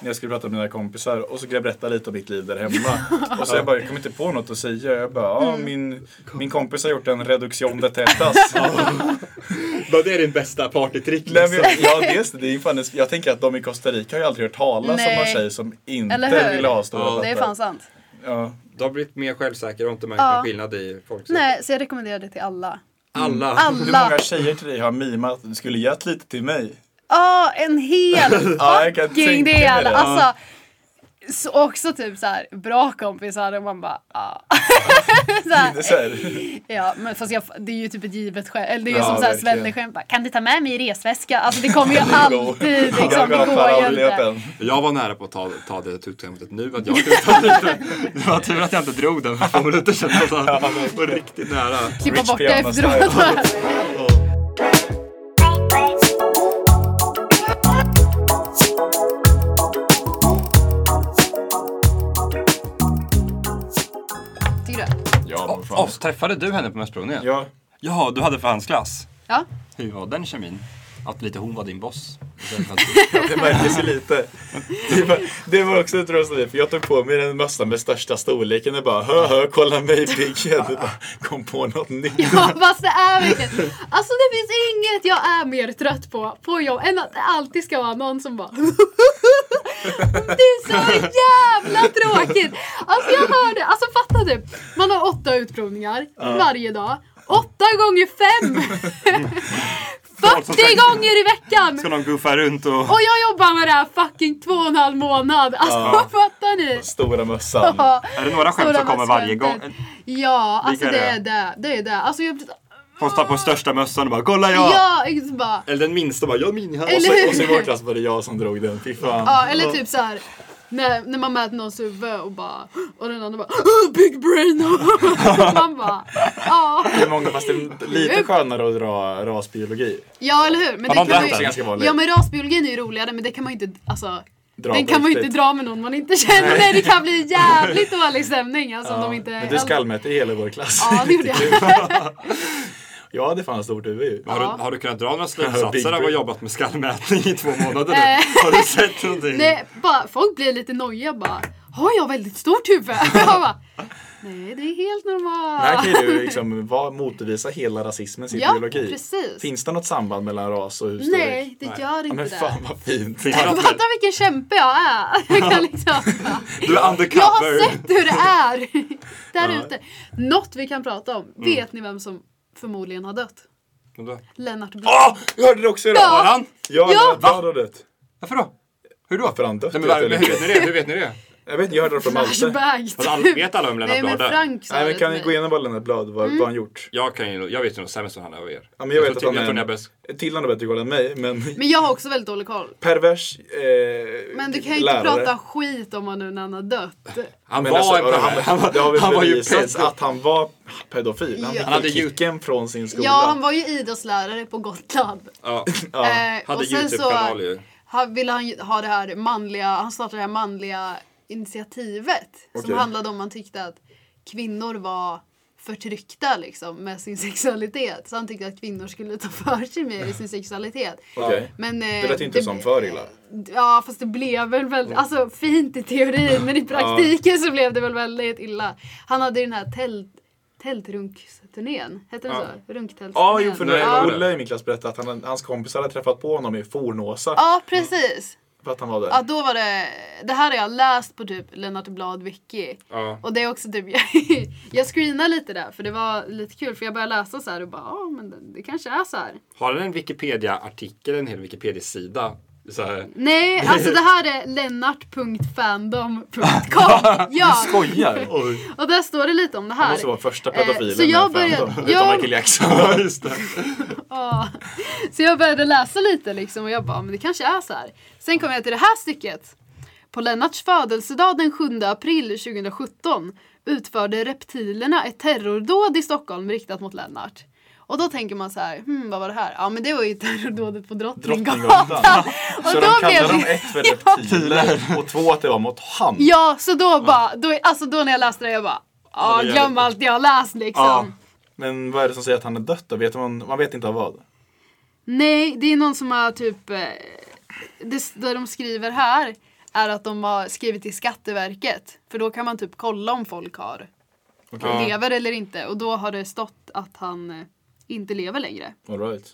C: När jag skulle prata med mina kompisar och så skulle jag berätta lite om mitt liv där hemma. Och så jag bara, jag kom inte på något att säga. Jag bara,
A: Mm.
C: ja min, min kompis har gjort en reduktion de tetas.
B: Vad det är din bästa partytrick
C: Nej,
B: liksom.
C: men, ja, dels det. det är fan, en- jag tänker att de i Costa Rica har ju aldrig hört talas om någon
A: Nej.
C: tjej som
A: Eller
C: inte
A: hur?
C: vill ha stora
A: Det är
C: pattar.
A: fan sant.
C: Ja.
B: Du har blivit mer självsäker och inte märkt
A: Ja.
B: någon skillnad i folk.
A: Nej, så jag rekommenderar det till alla.
B: Alla.
C: Hur
A: Alla!
C: många tjejer till dig har mimat du skulle gett lite till mig?
A: Ja, en hel
C: Ja, jag kan
A: fucking
C: tänka mig
A: del!
C: det.
A: Alltså, så också typ så här, bra kompisar och man bara ah. så
C: Det är
A: här,
C: så här.
A: ja, men fast jag, det är ju typ ett givet skämt. Eller det är ju
C: Ja,
A: som så här
C: verkligen.
A: skämt bara, kan du ta med mig i resväska? Alltså det kommer ju alltid liksom,
C: Jag
A: det
C: har
A: går ju
C: aldrig gjort
A: inte.
C: den.
B: Jag var nära på att ta, ta det tutskämtet nu. Att jag kunde ta det. det var tur att jag inte drog den för två minuter sedan. Alltså. Det var riktigt nära.
A: Klippa
C: Rich
A: bort det
C: Piana style.
A: efteråt. Tycker du?
C: Ja, men fan.
B: Oh, träffade du henne på mässprovningen?
C: Ja.
B: Jaha, du hade förhandsklass.
A: Ja.
B: Hur var den kemin? Att lite hon var din boss.
C: Det märktes ju lite. Det var, det var också ett roligt för jag tog på mig den mössan med största storleken och bara hö hö, kolla mig piggen. Kom på något nytt.
A: Ja, fast det är verkligen... Alltså det finns inget jag är mer trött på på jobb än att det alltid ska vara någon som bara... det är så jävla tråkigt! Alltså jag hör det, alltså fatta typ. Man har åtta utprovningar varje dag. Åtta gånger fem! 40 gånger i veckan!
B: någon guffa runt och...
A: Och jag jobbar med det här fucking två och en halv månad. Alltså fattar ni?
C: Stora mössan.
B: Är det några Mm. skämt
A: Stora
B: som kommer varje gång?
A: maskskämtet. Ja, alltså
B: Vilka
A: det
B: är
A: är det. Det är det. Alltså jag blir så-
B: Hon tar på största mössan och bara “Kolla jag!”
A: Ja, exakt bara.
B: Eller den minsta bara “Jag min här!”
A: Eller
C: Och så i vår klass var det jag som drog den. Fy fan.
A: Ja, eller typ så här. När, när man mäter någons huvud och bara och den andra bara "Oh, big brain Man bara ja.
C: Det är många, fast det är lite skönare att dra rasbiologi.
A: Ja eller hur. Men
C: man
A: det kan
C: mäter
A: man ju,
C: ganska vanligt.
A: ja men rasbiologin är ju roligare men det kan man ju inte alltså
C: dra
A: Den
C: på
A: kan man ju
C: riktigt.
A: inte dra med någon man inte känner. Nej, det kan bli jävligt dålig stämning. Alltså, om
C: Ja,
A: de inte...
C: Men du skallmätte i hela vår klass.
A: Ja, det gjorde jag.
C: Jag hade fan stort huvud ju.
B: Har,
A: Ja.
B: du, har du kunnat dra några slutsatser av att ha
C: brain.
B: jobbat med skallmätning i två månader nu?
A: Eh.
B: Har du sett någonting?
A: Nej, bara, folk blir lite nojiga bara. Har jag väldigt stort huvud? Jag bara, Nej, det är helt
C: Här
A: normalt.
C: kan ju du liksom vara- motvisa hela rasismens
A: Ja,
C: ideologi.
A: precis.
C: Finns det något samband mellan ras och husstorlek?
A: Nej, det gör
C: Ja,
A: inte
C: men
A: det.
C: fan vad fint.
B: Finns det något
A: Fatta
B: med-
A: vilken kämpe jag är. Jag, kan liksom,
B: Du är
A: jag har
B: undercover!
A: sett hur det är där ute. Något vi kan prata om.
C: Mm.
A: Vet ni vem som förmodligen har dött?
B: Vadå?
A: Lennart Blom.
C: Ah, jag hörde det också idag!
A: Ja.
B: Har han?
C: Jag,
A: Ja.
C: ja. jag hörde det.
B: Varför då? Hur då?
C: Varför han dött?
B: Nej, men,
C: vet
B: var-
C: jag
B: men hur
C: inte.
B: vet ni det? Hur vet ni det?
C: Jag vet inte, jag hörde det från Malte.
A: Flashback.
B: Har alla- Vet alla om Lennart
A: Nej men
B: Bard är?
A: Frank sa
C: Nej men
A: det
C: kan
A: till
C: ni gå
A: mig.
C: igenom bara Lennart Blad, vad,
A: Mm.
C: vad han gjort?
B: Jag kan ju, jag vet ju nog sämre som han är av er.
C: Ja, men jag
B: tror-
C: vet att han
B: jag
C: är
B: tror ni
C: en-
B: har bäst.
C: Till han har bättre koll än mig, men
A: Men jag har också väldigt dålig koll.
C: pervers eh,
A: Men du kan ju
C: lärare.
A: inte prata skit om honom nu när han har dött.
B: Han
C: Men
B: var
C: alltså,
B: en pervers.
C: han, det har väl
B: han var ju
C: bevisats
B: pedo.
C: att han var pedofil. Han
A: Ja.
C: fick
A: Han
C: han
B: hade
C: hade
B: ju-
C: kicken från sin skola.
A: Ja, han var ju idrottslärare på Gotland.
B: Ja,
C: Ja.
A: Eh,
B: hade
A: och sen så
B: Youtube-kanal ju.
A: han, ville han ju ha det här manliga, han startade det här manliga initiativet. Som
C: Okej.
A: handlade om att han tyckte att kvinnor var förtryckta liksom med sin sexualitet. Så han tyckte att kvinnor skulle ta för sig mer i sin sexualitet.
C: Okej.
A: Men, eh,
C: Det lät inte som för illa. Mm.
A: Ja fast det blev väl väldigt, alltså fint i teorin men i praktiken så blev det väl väldigt illa. Han hade ju den här tält, tältrunksturnén, hette den så? Runktältsturnén.
C: Ja, jo, för
B: Nej, det
C: när
B: var det.
C: Olle i min klass berättade att han, hans kompisar hade träffat på honom i Fornåsa
A: Ja, precis.
C: för att han var där.
A: Ja, då var det... Det här har jag läst på typ Lennart Blad Wiki.
B: Ja.
A: Och det är också typ... jag screenade lite där för det var lite kul för jag började läsa så här och bara ja, men det, det kanske är så här.
B: Har han en Wikipedia-artikel, en hel Wikipedia-sida? Så här,
A: Nej, alltså det här är lennart.fandom.com. Ja,
C: Skojar!
A: och där står det lite om det här.
C: Han måste vara första
A: Eh,
C: pedofilen.
A: så jag
C: här för-
A: började-
C: Utan
A: jag-
C: Michael Jackson.
A: Ja. Så jag började läsa lite liksom och jag bara, men det kanske är så här. Sen kom jag till det här stycket. På Lennarts födelsedag den 7 april 2017 utförde reptilerna ett terrordåd i Stockholm riktat mot Lennart. Och då tänker man så här, hmm, vad var det här? Ja men det var ju terrordådet på Drottninggatan.
C: Drottninggatan.
A: Och då
C: Så de
A: blev
C: kallade dem
A: det...
C: ett för reptiler och två att det var mot han.
A: Ja, så då bara, då, alltså då när jag läste det jag bara, ja
B: det gör
A: glöm
B: det.
A: allt jag har läst liksom.
C: Ja. Men vad är det som säger att han är dött då? Vet man, man vet inte av vad.
A: Nej, det är någon som har typ... eh, Det, det de skriver här är att de har skrivit till Skatteverket. För då kan man typ kolla om folk har lever eller inte. Och då har det stått att han eh, inte lever längre.
C: All right.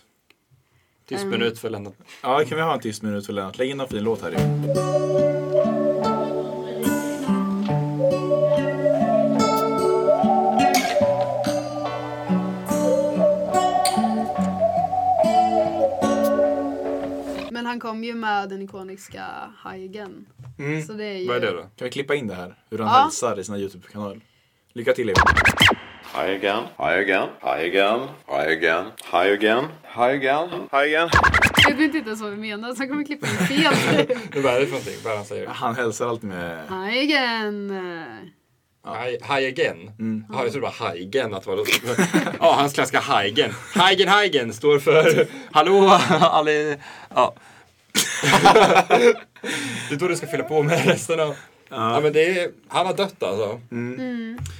B: tyst minut för Lennart.
C: Ja, kan vi ha en tyst minut för Lennart? Lägg in någon fin låt här i.
A: Men han kom ju med den ikoniska Haigen. Så det är ju...
B: Vad är det då?
C: Kan vi klippa in Mm. det här? Hur han
A: Ja.
C: hälsar i sina YouTube-kanal. Lycka till er.
I: Hi again. Hi again. Hi again. Hi again. Hi again. Hi again. Hi again.
A: Jag vet inte ens vad vi menar, så han kommer klippa in fel.
B: Vad är det för någonting? Vad är det han säger?
C: Han hälsar alltid med...
A: Haigen!
B: Hi, hi again? Ja, jag trodde det var Haigen. Att det var ja, hans klassiska Haigen. Haigen Haigen står för Hallå alli... Ja. det är då du ska fylla på med resten av... Ja, men det är, han har dött alltså.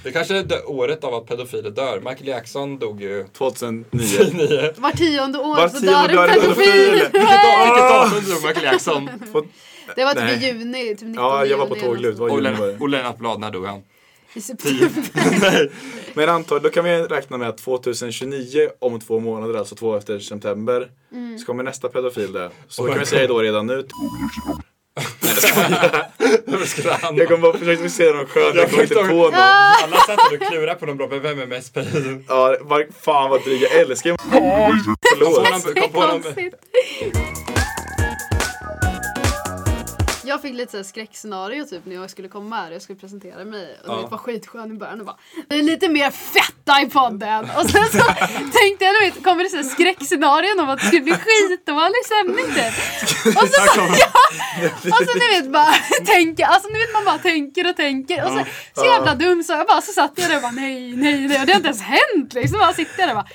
B: Det kanske är dö- året av att pedofiler dör. Michael Jackson dog ju...
C: 2009.
A: Var tionde år
C: Var
A: så
C: tionde
A: dör en
C: dör en
A: pedofil!
B: Vilket datum dog Michael Jackson?
A: Det var typ i
C: Nej.
A: juni, typ 19
C: Ja, jag var på
A: juni eller något
C: tåglut. Vad
B: Och,
C: gjorde ni
B: Len-
C: bara?
B: och Lennart Blad, när dog han?
A: sånt. I september.
C: Men antar, då kan vi räkna med att 2029 om två månader, alltså två efter september,
A: Mm.
C: så kommer nästa pedofil där. Så då kan vi säga då redan nu.
B: Hur skulle han...
C: Jag kommer bara försöka se någon skön, jag kommer inte
B: försökte-
C: på någon.
B: Alla satt där och klurade på de bra, men vem är mest pedo?
C: Ja, var, fan vad dryg, jag älskar
B: Kom
C: Förlåt.
B: på någon- kom på någon-
A: Konstigt. Jag fick lite så här skräckscenario typ när jag skulle komma här och jag skulle presentera mig och det var skitskön i början och bara "Det är lite mer fetta i podden och sen så tänkte jag du vet kommer det så här skräckscenarion om att det skulle bli skitdålig stämning typ. Och så, och så ni vet bara tänker, alltså ni vet man bara tänker och tänker och så, så jävla dum så jag bara så satt jag där och bara nej nej nej och det har inte ens hänt liksom. Bara sitter jag där och bara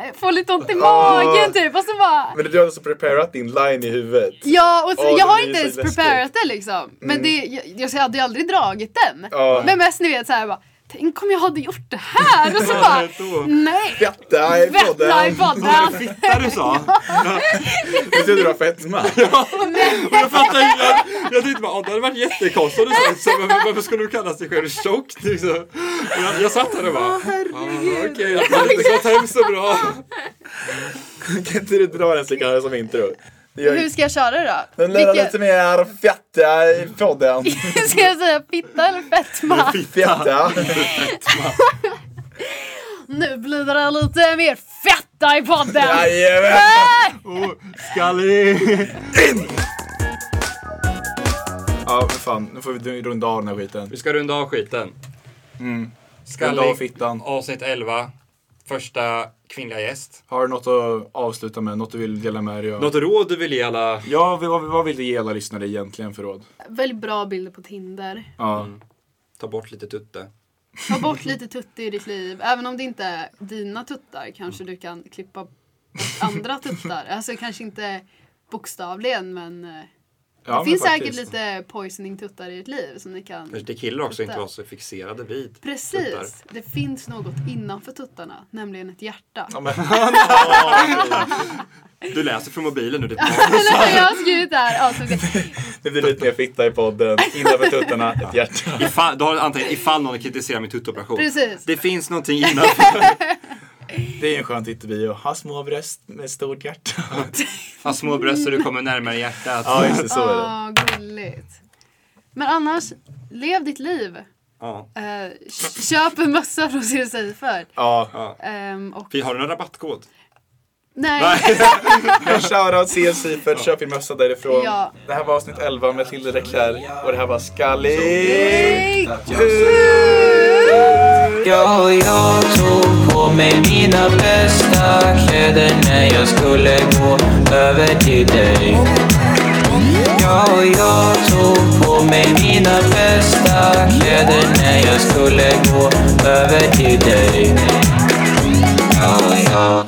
A: nej, får lite ont i magen typ och så bara
C: Men du har alltså preparat din line i huvudet.
A: Ja, och så,
C: Åh,
A: jag
C: det
A: har
C: blir
A: inte
C: så
A: ens
C: läskigt.
A: göras det liksom. Men det, jag, jag hade ju aldrig dragit den.
C: Mm. Ja.
A: Men mest ni vet så här bara, tänk om jag hade gjort det här. Och så bara, nej.
C: Fetta i
A: Vätta i
C: podden.
A: podden.
B: Där du sa?
C: Jag trodde det var fetma.
B: Jag fattar inte. Jag, jag tyckte bara, "Åh, det hade varit jättekonstigt om du sa så, men varför skulle du kalla dig själv tjock? Liksom. Och Jag, jag satt där och bara, "Ah, okej, jag hade inte gått hem så bra.
C: Kan inte du dra den slickan här som intro? Det gör-
A: Hur ska jag köra då?
C: Den lär
A: Vilket-
C: lite mer fetta i podden.
A: ska jag säga fitta eller fetma?
C: Fetta.
A: Nu blir det lite mer fetta i podden.
C: Jajamän. Äh! Oh, Ja, men fan. Nu får vi runda av den här skiten.
B: Vi ska runda av skiten. Mm.
C: Runda av
B: Skallig,
C: fittan.
B: avsnitt 11, första kvinnliga gäst. Mm.
C: Har du något att avsluta med? Något du vill dela med dig av?
B: Något råd du vill ge alla?
C: Ja, vad, vad vill du ge alla lyssnare egentligen för råd?
A: Välj bra bilder på Tinder.
C: Ja.
B: Ta bort lite tutte.
A: Ta bort lite tutti i ditt liv. Även om det inte är dina tuttar kanske du kan klippa bort andra tuttar. Alltså kanske inte bokstavligen men eh,
C: ja
A: det
C: men
A: finns
C: faktiskt.
A: säkert lite poisoning tuttar i ditt liv som ni kan...
B: Kanske till killar också inte
A: Tutte.
B: vara så fixerade vid
A: Precis!
B: tuttar.
A: Det finns något innanför tuttarna, nämligen ett hjärta.
C: Ja, men,
B: Du läser från mobilen nu. Det
A: Eller jag har skrivit det här avsnittet.
C: det blir lite mer fitta i podden. Innanför tuttarna, ett hjärta.
B: ifall, du har antingen ifall någon kritiserar min tuttoperation.
A: Precis.
B: Det finns någonting innanför.
C: Det är en skön titelbio. Ha små bröst med stort hjärta.
B: Ha små bröst så du kommer närmare hjärtat.
C: Ja, just det. Så är det.
A: Åh, Ah, gulligt. Men annars, lev ditt liv.
B: Ja.
A: Eh, k- köp en mössa från Cirkus Seifert.
C: Ja.
A: Ehm, och...
B: Vi har du någon rabattkod?
A: Nej.
C: Shoutout CL Sifert. Köp din mössa därifrån.
A: Ja.
C: Det här var avsnitt 11 med Tilde Leclerc. Och det här var Skallig.
A: Hej!
H: Ja, jag tog på mig mina bästa kläder när jag skulle gå över till dig. Ja, jag tog på mig mina bästa kläder när jag skulle gå över till dig. Ja, jag
F: oh.